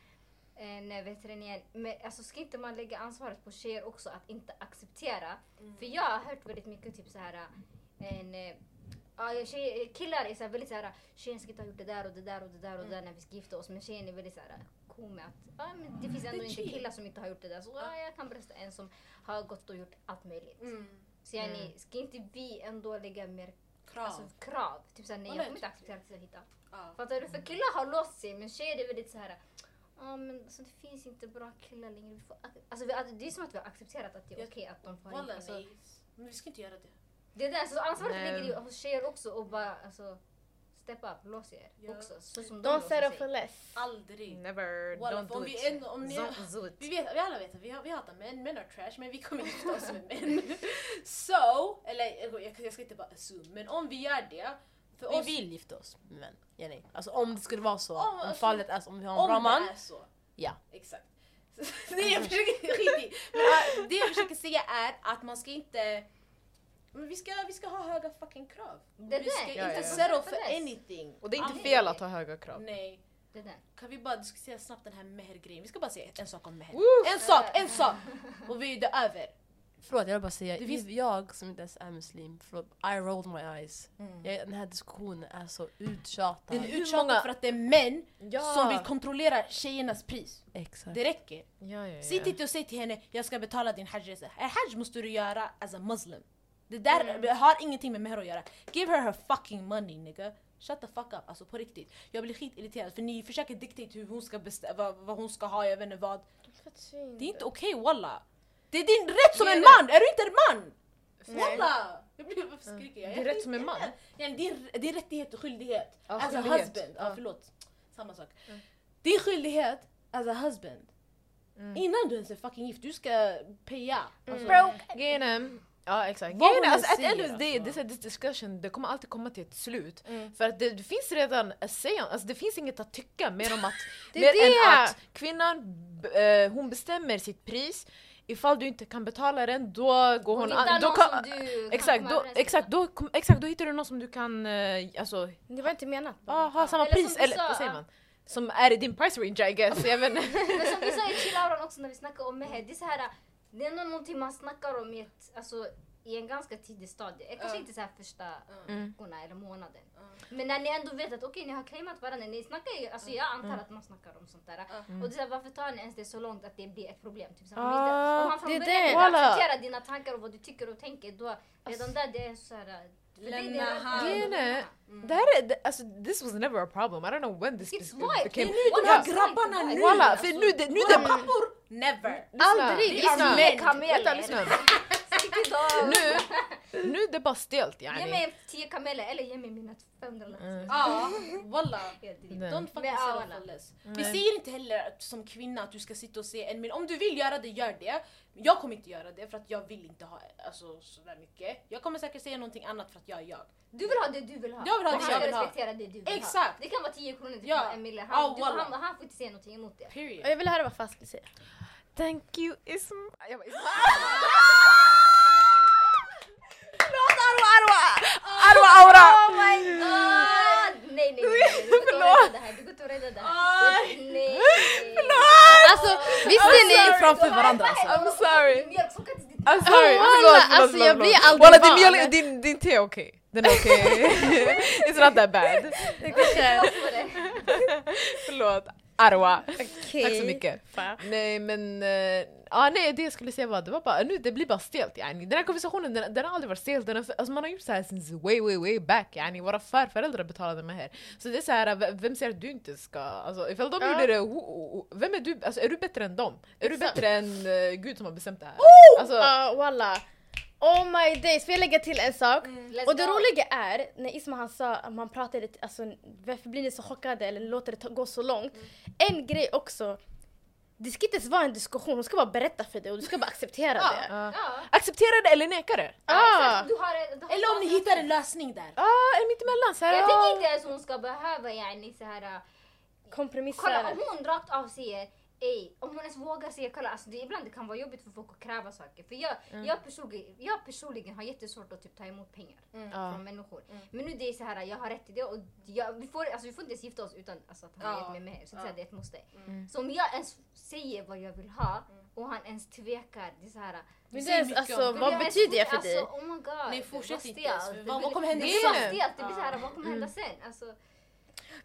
Eh, nej veterinär, men alltså ska inte man lägga ansvaret på tjejer också att inte acceptera? Mm. För jag har hört väldigt mycket typ såhär, en, eh, ja, tjejer, killar är såhär väldigt såhär, tjejen ska inte ha gjort det där och det där och det där och Mm. det där när vi ska gifta oss. Men tjejen är väldigt såhär cool med att, ja men det finns ändå inte killar som inte har gjort det där. Så ja, jag kan brösta en som har gått och gjort allt möjligt. Mm. Så yani, ska inte vi ändå lägga mer Krav. Alltså, krav? Typ såhär, nej Ja, jag nej, kommer inte acceptera att jag hittar. Ja. Fattar du? För killar har låst sig men tjejer är väldigt såhär Ja men alltså, det finns inte bra killar längre. Vi får, ac- alltså, vi, det är som att vi har accepterat att det är okej Jag- att de får Wallah, alltså, nej. Men vi ska inte göra det. Det är där, så ansvaret Nej. ligger ju hos tjejer också och bara alltså step up, lås er Ja. också. Så som de Don't låser settle for sig. less. Aldrig. Never, Wallah, för om vi ändå- om ni- Don't do Vi, it. vet, vi alla vet att vi, har- vi hatar män, män är trash men vi kommer gifta oss med män. So, eller jag, jag ska inte bara assume, men om vi gör det. För Vi oss, vill gifta oss med män, Jenny. Alltså om det skulle vara så, Ja, om alltså, fallet är så, om vi har en om bra man. det är så. Ja. Exakt. det, jag försöker, skit i. Men, äh, det jag försöker säga är att man ska inte men vi ska, vi ska ha höga fucking krav. Det vi ska där, inte ja. settle for Yes. anything. Och det är inte Aldrig. fel att ha höga krav. Nej. Det där. Kan vi bara diskutera snabbt den här meher-grejen? Vi ska bara säga en sak om meher. Woo! En sak, en sak! Och vi är det över. Förlåt jag vill bara säga, Det finns- jag som inte ens är muslim, förlåt, I rolled my eyes. Jag, den här diskussionen är så uttjatad. Mm. Den är uttjatad för att det är män som vill kontrollera tjejernas pris. Exakt. Det räcker. Ja, ja, Mm. Sitt ja. inte och säg till henne jag ska betala din hajresa. En hajj måste du göra as a muslim. Det där Mm. har ingenting med meher att göra. Give her her fucking money nigga. Shut the fuck up, alltså på riktigt. Jag blir skitirriterad för ni försöker dictate hur hon ska bestämma, vad, vad hon ska ha, jag vet inte vad. Det är inte okej walla. Det är din rätt som en man, är du inte en man? Walla! Jag blir, varför skriker jag? Mm. Det är rätt som en man. Ja, det, är, det är rättighet och skyldighet. Ja, as a skyldighet. husband. Ja. Ja. Mm. förlåt. Samma sak. Det är skyldighet as a husband. Mm. Innan du ens är fucking gift, du ska paya. Alltså, Mm. Grejen är, ja exakt. Vad Grejen är, hon alltså, at the säger, end of the day, alltså. this, this discussion, det kommer alltid komma till ett slut. För att det, det finns redan a say on, alltså, det finns inget att tycka mer om att, Det är mer det! än att kvinnan b- eh, hon bestämmer sitt pris. Ifall du inte kan betala den då går Och hon... hitta an- någon Då som kan, du kan exakt, komma då, överens med. exakt, då, kom- exakt, då hittar du någon som du kan eh, alltså, Det var inte menat. ah, ha samma Eller som pris, du eller sa, vad säger ah. man? Som är i din price range I guess, jag vet inte. Men som vi sa i chillauran också när vi snackade om meher, det är så här, det är ändå någonting man snackar om i ett, alltså, i i en ganska tidig stadie. Eh, Kanske Ja. inte så här första Mm. veckorna eller månaden. Men när ni ändå vet att okej ni har claimat varandra, ni snackar ju, alltså jag antar Mm. att man snackar om sånt där. Och det är så här, varför tar ni ens det så långt att det blir ett problem? Typ, så här, om Ah, inte- om man från det är början det. inte Walla. accepterar dina tankar och vad du tycker och tänker då, redan där det är så här... för det är Lämna det- hand. Grejen är, det här är, det- alltså, this was never a problem. I don't know when this Mm. It's be- why. became... Det är nu De de här här grabbarna nu! Walla, för nu, det, nu Våra det... pappor! Alltså, Never! Lyssna, Aldrig! lyssna. Lyssna. Vi är kameler. Vänta, lyssna. Nu, nu det är bara stelt Ge yani. mig 10 kameler eller ge mig mina 500 lax. Mm. Ja, walla. Helt enkelt. Nej. Don't fucking Men, ja, settle walla. for less. Vi säger inte heller att, som kvinna att du ska sitta och se en miljon. Om du vill göra det, gör det. Jag kommer inte göra det för att jag vill inte ha alltså, sådär mycket. Jag kommer säkert säga någonting annat för att jag är jag. Du vill ha det du vill ha. Jag vill ha Och det han jag ska vill ha. respektera det du vill ha. Exakt. Det kan vara 10 kronor, det kan Ja. Ah, vara en mille. Ja, Han, du, walla. han, han får inte säga någonting emot det. Period. Och jag ville höra vad Fast skulle säga. Thank you Ism... Jag bara, Ism... Förlåt Arwa, Arwa! Arwa Aura! Ah, nej, nej, nej, nej. Du går inte att rädda det här. Du går inte att rädda det Ah! här. Nej. Oh Alltså visste ni? framför varandra I'm sorry. Mjölk funkar inte ditt I'm sorry, Walla, förlåt, förlåt, alltså, jag förlåt, blir förlåt. aldrig Walla, din, van, mjöl, men- din, din te är okej, den är okej. It's not that bad. Förlåt, Arwa. Tack så mycket. Nej men, eh, ah, nej det jag skulle säga var, det var bara, nu det blir bara stelt yani. Den här konversationen den, den har aldrig varit stel, den har, alltså, man har gjort så här since way way way back yani. Våra förföräldrar betalade med här. Så det är så här, v- vem säger att du inte ska, alltså ifall de Ja. gjorde det, ho, ho, ho, vem är du, alltså är du bättre än dem? Är du Exakt. Oh! bättre än eh, Gud som har bestämt det här? Alltså, Ja walla. Oh my days, får jag lägga till en sak? Och det roliga är, när Isma han sa att man pratade, t- alltså varför blir ni så chockade eller låter det ta, gå så långt? En grej också, det ska inte ens vara en diskussion, hon ska bara berätta för dig och du ska bara acceptera det. ja. Ja. Acceptera det eller neka det? Ah. Du har, du har Ah. Eller om ni hittar en lösning där. Ja, ah, mittemellan såhär. Jag tycker inte ens hon ska behöva yani så här. Kolla Kompromissa. om hon rakt av säger Ey, om hon ens vågar säga kolla alltså det, ibland det kan vara jobbigt för folk att kräva saker. För jag, jag, personligen, jag personligen har jättesvårt att typ ta emot pengar Ja. från människor. Men nu det är så här, jag har rätt till det och jag, vi, får, alltså, vi får inte ens gifta oss utan alltså, att han har Ja. gett mig mer. Så, det är så här, det är ett måste. Mm. Så om jag ens säger vad jag vill ha och han ens tvekar, det är så här. Men det säger är, mycket alltså, om- Men vad jag är betyder det så- för dig? Alltså, oh my god. Nej, fortsätt Vad inte. stelt. Vad- Det vad blir- kommer hända Det blir så sen? stelt, det blir så här, vad kommer hända sen? Alltså,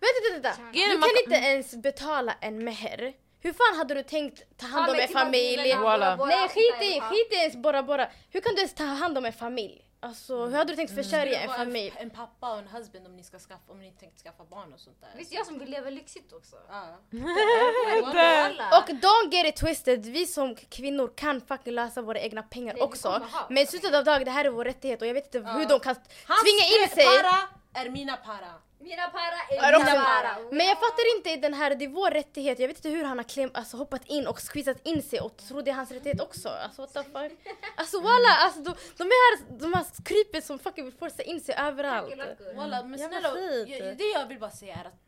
Vänta, vänta, vänta. Grejen Du kan inte ens betala en meher. Hur fan hade du tänkt ta hand om en familj? Walla. Nej skit i, skit i ens Bora Bora. Hur kan du ens ta hand om en familj? Alltså hur hade du tänkt försörja en Vara familj? En pappa och en husband om ni ska skaffa, om ni tänkt skaffa barn och sånt där. Visst jag som vill leva lyxigt också? Ja. Walla. Och don't get it twisted, vi som kvinnor kan fucking lösa våra egna pengar Nej, vi också. kommer ha. Men i slutet av dagen, det här är vår rättighet och jag vet inte hur de kan Hans tvinga in sig. para är mina para. Mina para Är är de mina som- para. Men jag fattar inte i den här, det är vår rättighet. Jag vet inte hur han har kläm, alltså, hoppat in och squeezat in sig och tror det är hans rättighet också. Alltså what the fuck. Alltså walla, alltså, de, de är här, de här krypen som fucking vill forsa in sig överallt. Walla, men Jävla snälla, skit. jag, det jag vill bara säga är att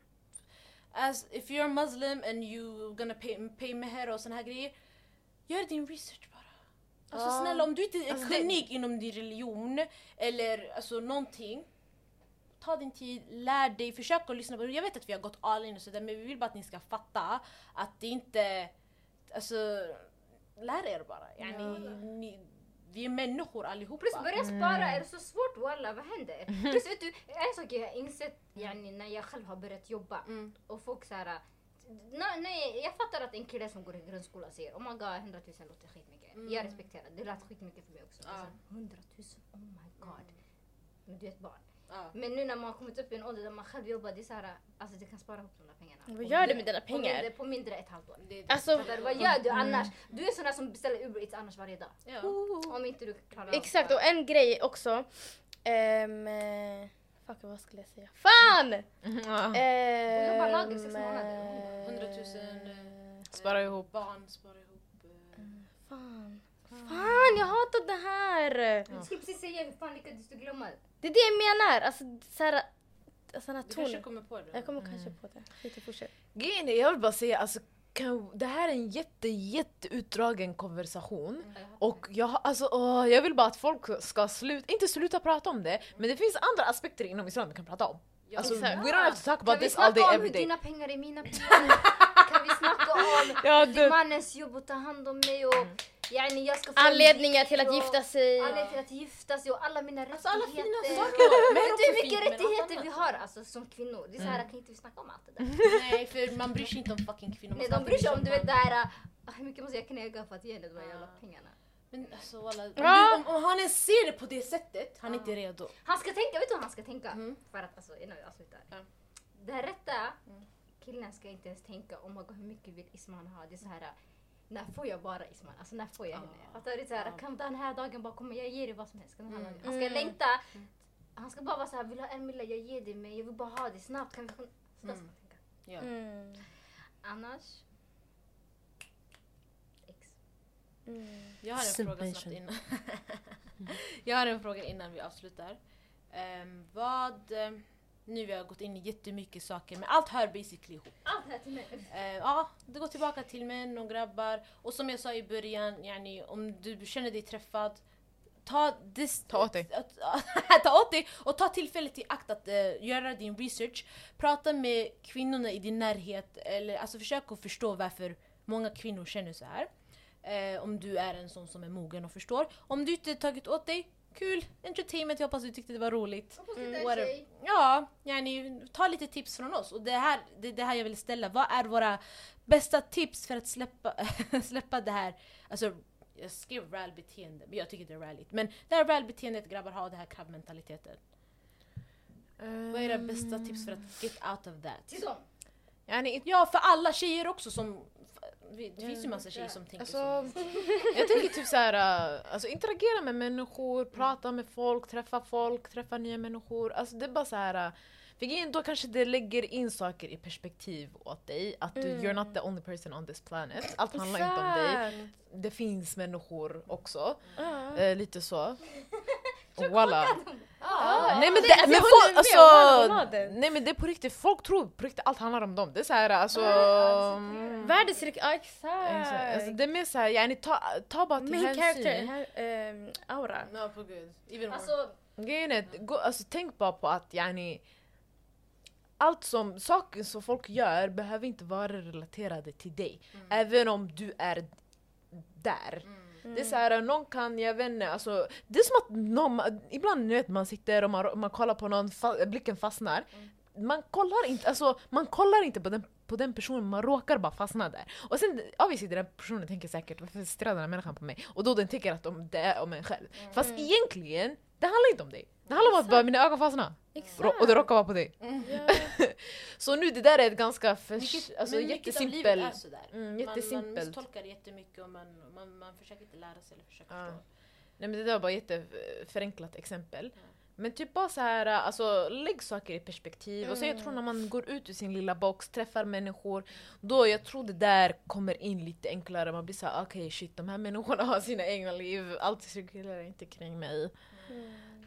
as, if you're muslim and you gonna pay, pay meher och såna här grejer, gör din research bara. Alltså Ja. snälla om du inte är kunnig inom din religion eller alltså någonting, ta din tid, lär dig, försök att lyssna på Jag vet att vi har gått all in och sådär men vi vill bara att ni ska fatta att det inte, alltså lär er bara. Yani, ni, vi är människor allihopa. Plus börja Mm. spara, är det så svårt walla, vad händer? Plus vet du, en sak jag har insett yani, när jag själv har börjat jobba Mm. och folk såhär Nej, nej, jag fattar att en kille som går i grundskolan säger oh my god 100 000 låter skitmycket. Mm. Jag respekterar, det lät skitmycket för mig också. Ja. Alltså, 100 000, oh my god. Mm. Men du är ett barn. Ja. Men nu när man har kommit upp i en ålder där man själv jobbar, det är såhär, alltså det kan spara ihop de där pengarna. Vad På gör du mindre- med dina på mindre- pengar? På mindre ett halvår. Det är det. Alltså Fattar du? Vad gör du annars? Du är sån där som beställer Uber Eats annars varje dag. Ja. Om inte du klarar av Exakt, och en grej också. Ehm, eh, fuck, vad skulle jag säga? Fan! Mm. Ehm, jobbar lagret sex månader. 100 000 eh, Spara ihop. barn, spara ihop. eh. Fan. Fan, jag hatar det här! Du skulle precis säga hur fan lyckades du glömma det? Det är det jag menar. Alltså, så här, alltså den här Du kanske tonen. kommer på det. Jag kommer kanske på det. Skit i fortsätt. Grejen är, jag vill bara säga alltså, kan, det här är en jätte, jätte utdragen konversation. Mm. Och jag, har- alltså, åh, jag vill bara att folk ska sluta, inte sluta prata om det, men det finns andra aspekter inom islam vi kan prata om. Ja. Alltså, we Exakt. don't have to talk about Kan vi this all snacka day om every hur day. dina pengar är mina pengar? kan vi snacka om Ja, din du, mannens jobb och ta hand om mig och Yani jag ska få Anledningar en till att och- gifta sig. Anledningar typ- till att gifta sig och Alltså, alla mina rättigheter. alla fina saker. Men Vet du hur också mycket fint med något rättigheter annat. Mm. vi har alltså, som kvinnor? Det är så här, kan inte vi snacka om allt det där? Nej för man bryr sig inte om fucking kvinnor. Nej, de bryr sig om du vet det här, ah, hur mycket måste jag knäga för att ge dig de här jävla pengarna? Men alltså walla, om, Ja. du- om, om han ens ser det på det sättet, han är inte redo. Han ska tänka, vet du vad han ska tänka? För att alltså, innan vi avslutar. Ja. Det här rätta killen ska inte ens tänka om oh hur mycket vill Isman ha. Det är så här, när får jag bara Isman? Alltså när får jag henne? Fattar du? Det är så här, kan den här dagen bara komma, jag ger dig vad som helst. Kan den här dagen. Han ska längta. Han ska bara vara så här, vill du ha en mille? Jag ger dig mig. Jag vill bara ha det snabbt. Kan vi... få- Så där ska man tänka. Mm. Annars... Ex. Jag har en fråga snabbt Submission. innan. jag har en fråga innan vi avslutar. Ehm, vad... ehm, nu vi har gått in i jättemycket saker, men allt hör basically ihop. Allt det här till mig. Eh, ja, det går tillbaka till män och grabbar. Och som jag sa i början, yani, om du känner dig träffad, ta, this, Ta åt dig. ta åt dig och ta tillfället i akt att eh, göra din research. Prata med kvinnorna i din närhet, eller alltså försök att förstå varför många kvinnor känner så här. Eh, om du är en sån som är mogen och förstår. Om du inte tagit åt dig, kul! Entertainment, jag hoppas du tyckte det var roligt. Mm, Whatever. Ja, yani, ta lite tips från oss. Och det här, det, det här jag vill ställa, vad är våra bästa tips för att släppa, släppa det här, alltså jag skrev rallybeteende, men jag tycker det är rallyt. Men det här rallybeteendet grabbar har, det här krabbmentaliteten. Vad är era bästa tips för att get out of that? Till dem. Yani, inte- Ja, för alla tjejer också som... Det finns ju massa tjejer som tänker så. Alltså, jag tänker typ såhär, äh, alltså interagera med människor, prata med folk, träffa folk, träffa nya människor. Alltså det är bara såhär, äh, för grejen då kanske det lägger in saker i perspektiv åt dig. Att du, Mm. you're not the only person on this planet. Allt handlar inte om dig. Det finns människor också. Eh, lite så. Voilà. Nej men, det, men, folk, alltså, nej men det är på riktigt, folk tror på riktigt allt handlar om dem. Det är såhär alltså... mm. Världens rike, ja exakt. Exakt. Alltså, det är mer såhär, yani, ta, ta bara till Main character, hänsyn. här, ehm, aura. No, på gud. Even more. Alltså, Grejen är, att gå, alltså, tänk bara på att yani, allt som, saker som folk gör behöver inte vara relaterade till dig. Även om du är där. Det är såhär, någon kan, jag vet inte, alltså, det är som att någon, ibland ni vet, man sitter och man, man kollar på någon, fa, blicken fastnar. Man kollar inte, alltså, man kollar inte på den på den personen, man råkar bara fastna där. Och sen obviously den här personen tänker säkert varför stirrar den här människan på mig? Och då den tänker att om det är om en själv. Mm. Fast egentligen, det handlar inte om dig. Det handlar om att bara mina ögon fastnar. Rå- Och det råkar vara på dig. Så nu det där är ett ganska förs- Mycket- alltså, Mm. men mycket av livet jättesimpel... är sådär. Mm, Man, man jättesimpelt. misstolkar jättemycket och man, man, man försöker inte lära sig eller försöka Ja. förstå. Nej men det där var bara ett jätteförenklat exempel. Men typ bara så här, alltså lägg saker i perspektiv. Och sen jag tror när man går ut ur sin lilla box, träffar människor, då jag tror det där kommer in lite enklare. Man blir så här, okej shit de här människorna har sina egna liv, allt cirkulerar inte kring mig.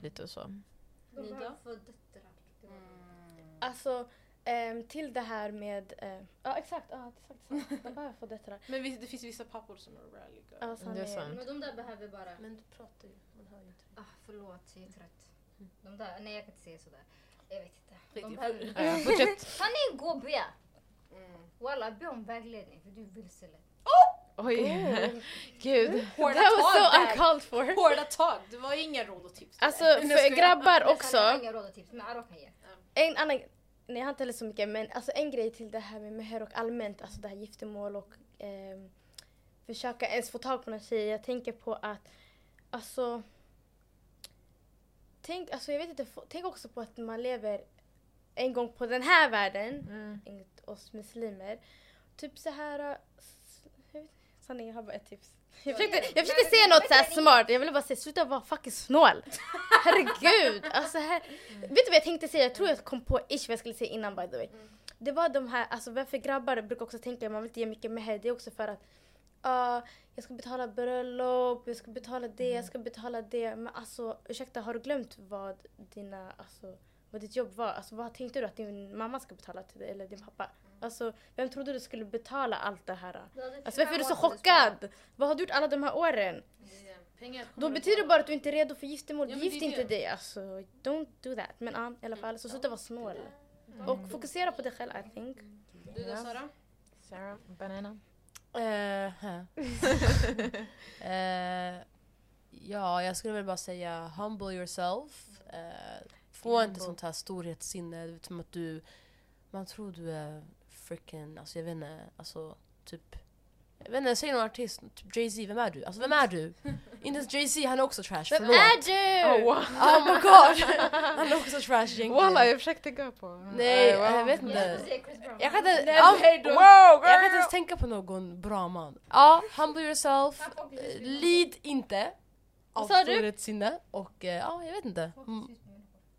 Lite så. de Ni behöver då? få döttrar. Mm. Alltså ehm, till det här med, eh, ja exakt, ja exakt, sant. de behöver få detta där. Alltså, Men det finns vissa pappor som är rally Ja, Det är sanningen. sant. Men de där behöver bara... Men du pratar ju, man hör ju inte. Mm. Ah, förlåt, jag är trött. De där, nej jag kan inte säga sådär. Jag vet inte. De Skit i- behöver... Ja, fortsätt. Kan ni gå och be? Mm. Walla, be om vägledning för du är vilse lätt. Oj. Gud. Hårda That was tag so där! uncalled for. Hårda tag! Det var inga råd och tips. Alltså där. Nej, jag för skojar. grabbar Jag har också, inga råd och tips, men Aro kan ge. en annan, nej jag har inte heller så mycket men alltså en grej till det här med meher och allmänt, alltså det här giftermål och ehm, försöka ens få tag på någon tjej. Jag tänker på att, alltså, tänk, alltså jag vet inte, få- tänk också på att man lever en gång på den här världen Mm. enligt oss muslimer. Typ så här... äh, s- jag vet- Sanningen, jag har bara ett tips. Jag försökte, jag försökte säga något så här smart, jag ville bara säga sluta vara fucking snål. Herregud! Alltså här, vet du vad jag tänkte säga? Jag tror jag kom på ish vad jag skulle säga innan by the way. Det var de här, alltså varför grabbar brukar också tänka att man vill inte ge mycket med här, det är också för att ah, jag ska betala bröllop, jag ska betala det, jag ska betala det. Men alltså ursäkta, har du glömt vad dina, alltså vad ditt jobb var? Alltså vad tänkte du att din mamma ska betala till dig eller din pappa? Alltså vem trodde du skulle betala allt det här? Alltså varför är du så chockad? Vad har du gjort alla de här åren? Pengar kommer Då att betyder vara- det bara att du inte är redo för giftermål. Ja, men det är Gift det. inte dig alltså. Don't do that. Men ja, i alla fall. Så sluta vara snål. Mm. Och fokusera på dig själv I think. Du då Sara? Sarah, banana. Eh, huh. Eh, ja, jag skulle väl bara säga humble yourself. Eh, få inte sånt här storhetssinne, du vet, som att du... Man tror du är freaking, alltså jag vet inte, alltså typ... Jag vet inte, säg någon artist, typ Jay-Z, vem är du? Alltså vem är du? inte ens Jay-Z, han är också trash, Vem förlåt. är du? Oh, Oh my god! han är också trash egentligen. Walla jag försökte tänka på. Nej, eh, wow. jag vet Jag inte. ska säga Chris Brown. Jag kan inte, Nej, ja, nej då. wow, jag kan inte ens tänka på någon bra man. Ja, humble yourself, Tack och lov. eh, lid inte Vad av sa du? storhetssinne och eh, ja, jag vet inte. Mm.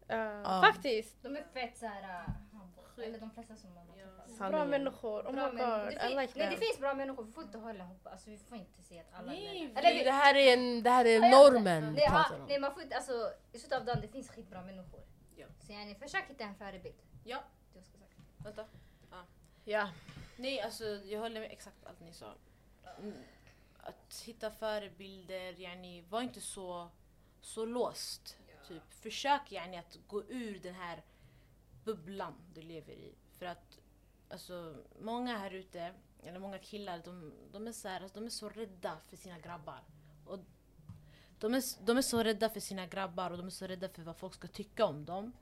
Ja, Ja. Faktiskt. De är fett såhär... uh, humble. Eller de flesta som man har träffat. Bra människor. Oh my Bra människor. god. Det I fin- like Nej det them. finns bra människor, vi får inte hålla ihop. Alltså, vi får inte se att alla... Nej, Eller Nej, vi- Det här är, en, det här Ja, är normen vi Nej, ja, pratar om. nej man får inte, alltså i slutet av dagen det finns skitbra människor. Ja. Så yani, försök hitta en förebild. Ja. Du ska säga. Vänta. Ja. Nej, alltså jag håller med exakt allt ni sa. Mm. Att hitta förebilder, yani, var inte så, så låst. Typ. Försök yani, att gå ur den här bubblan du lever i. För att alltså, många här ute, eller många killar, de, de, är så här, alltså, de är så rädda för sina grabbar. Och de, är, s- de är så rädda för sina grabbar och de är så rädda för vad folk ska tycka om dem.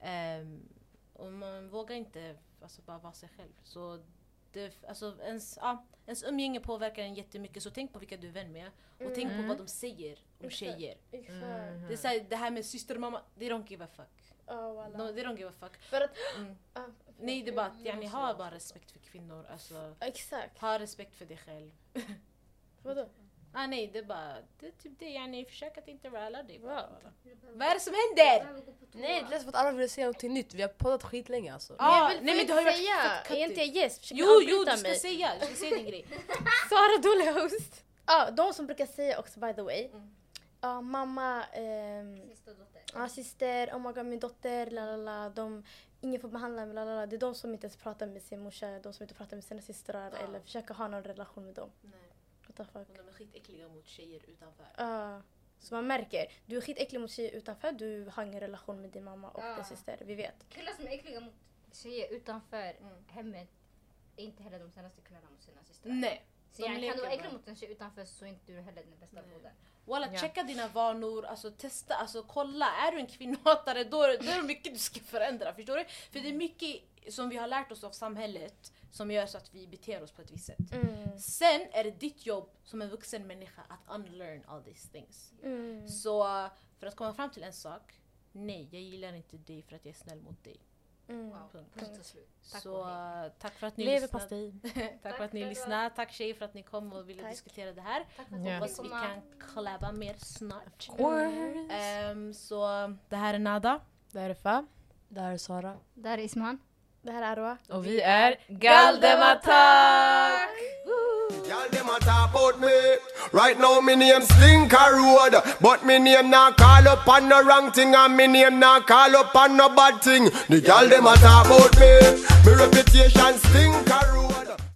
Ehm, och man vågar inte alltså, bara vara sig själv. Så det, alltså, ens, ja, ens umgänge påverkar en jättemycket. Så tänk på vilka du är vän med. Och tänk på vad de säger om tjejer. Exakt. Det, är så här, det här med syster och mamma, they don't give a fuck. Ja, No, voilà. they don't give a fuck. Oh, För att... Mm. Ah, Nej, det är bara att yani, ha bara respekt för kvinnor. Alltså, Exakt. ha respekt för dig själv. Vadå? Ah, nej, det är bara det är typ det. Yani, försök att inte räla dig. Wow. Vad är det som händer? Nej, det lät som att alla ville säga något nytt. Vi har poddat skitlänge alltså. Ah, jag vill nej, men du har ju varit säga, fett är inte jag kattig. gäst? Försöker Jo, avbryta jo, du ska Mm. mig. säga. Du ska säga din grej. Sara dålig host. Ja, de som brukar säga också by the way. Ja, Mm. mamma, ehm, Sista dotter. ja, syster, oh my god min dotter, la la la. De, ingen får behandla mig, la la la. Det är de som inte ens pratar med sin morsa, de som inte pratar med sina systrar Ja. eller försöker ha någon relation med dem. Nej, What the fuck. men de är skitäckliga mot tjejer utanför. Ja. så man märker, du är skitäcklig mot tjejer utanför, du har ingen relation med din mamma och Ja. din syster. Vi vet. Killar som är äckliga mot tjejer utanför Mm. hemmet är inte heller de snällaste killarna mot sina systrar. Nej. Så de yani, kan leker du vara äcklig bara. mot en tjej utanför så är inte du heller den bästa Mm. brodern. Walla, checka dina vanor, alltså testa, alltså kolla. Är du en kvinnohatare då, är- då är det mycket du ska förändra, förstår du? För det är mycket som vi har lärt oss av samhället som gör så att vi beter oss på ett visst sätt. Mm. Sen är det ditt jobb som en vuxen människa att unlearn all these things. Mm. Så eh, för att komma fram till en sak, nej jag gillar inte dig för att jag är snäll mot dig. Mm. Wow. Punkt. Punkt och slut. Tack så och hej. eh, tack för att ni lyssnade. Leverpastej. Tack för att ni Tack. lyssnade. Tack tjejer för att ni kom och ville Tack. diskutera det här. Tack för Ja. att ni Hoppas vi fick kan komma. collaba mer snart. Words. Ehm, så det här är Nada. Det här är Fa. Där är Sara. Där är Isman. Det här är Arwa. Och vi är Galdematak! Y'all dem a talk about me. Right now me name Slinker Road, but me name not call up on no wrong thing, and me name not call up on no bad thing. The y'all them a talk about me. Me reputation Slinker Road.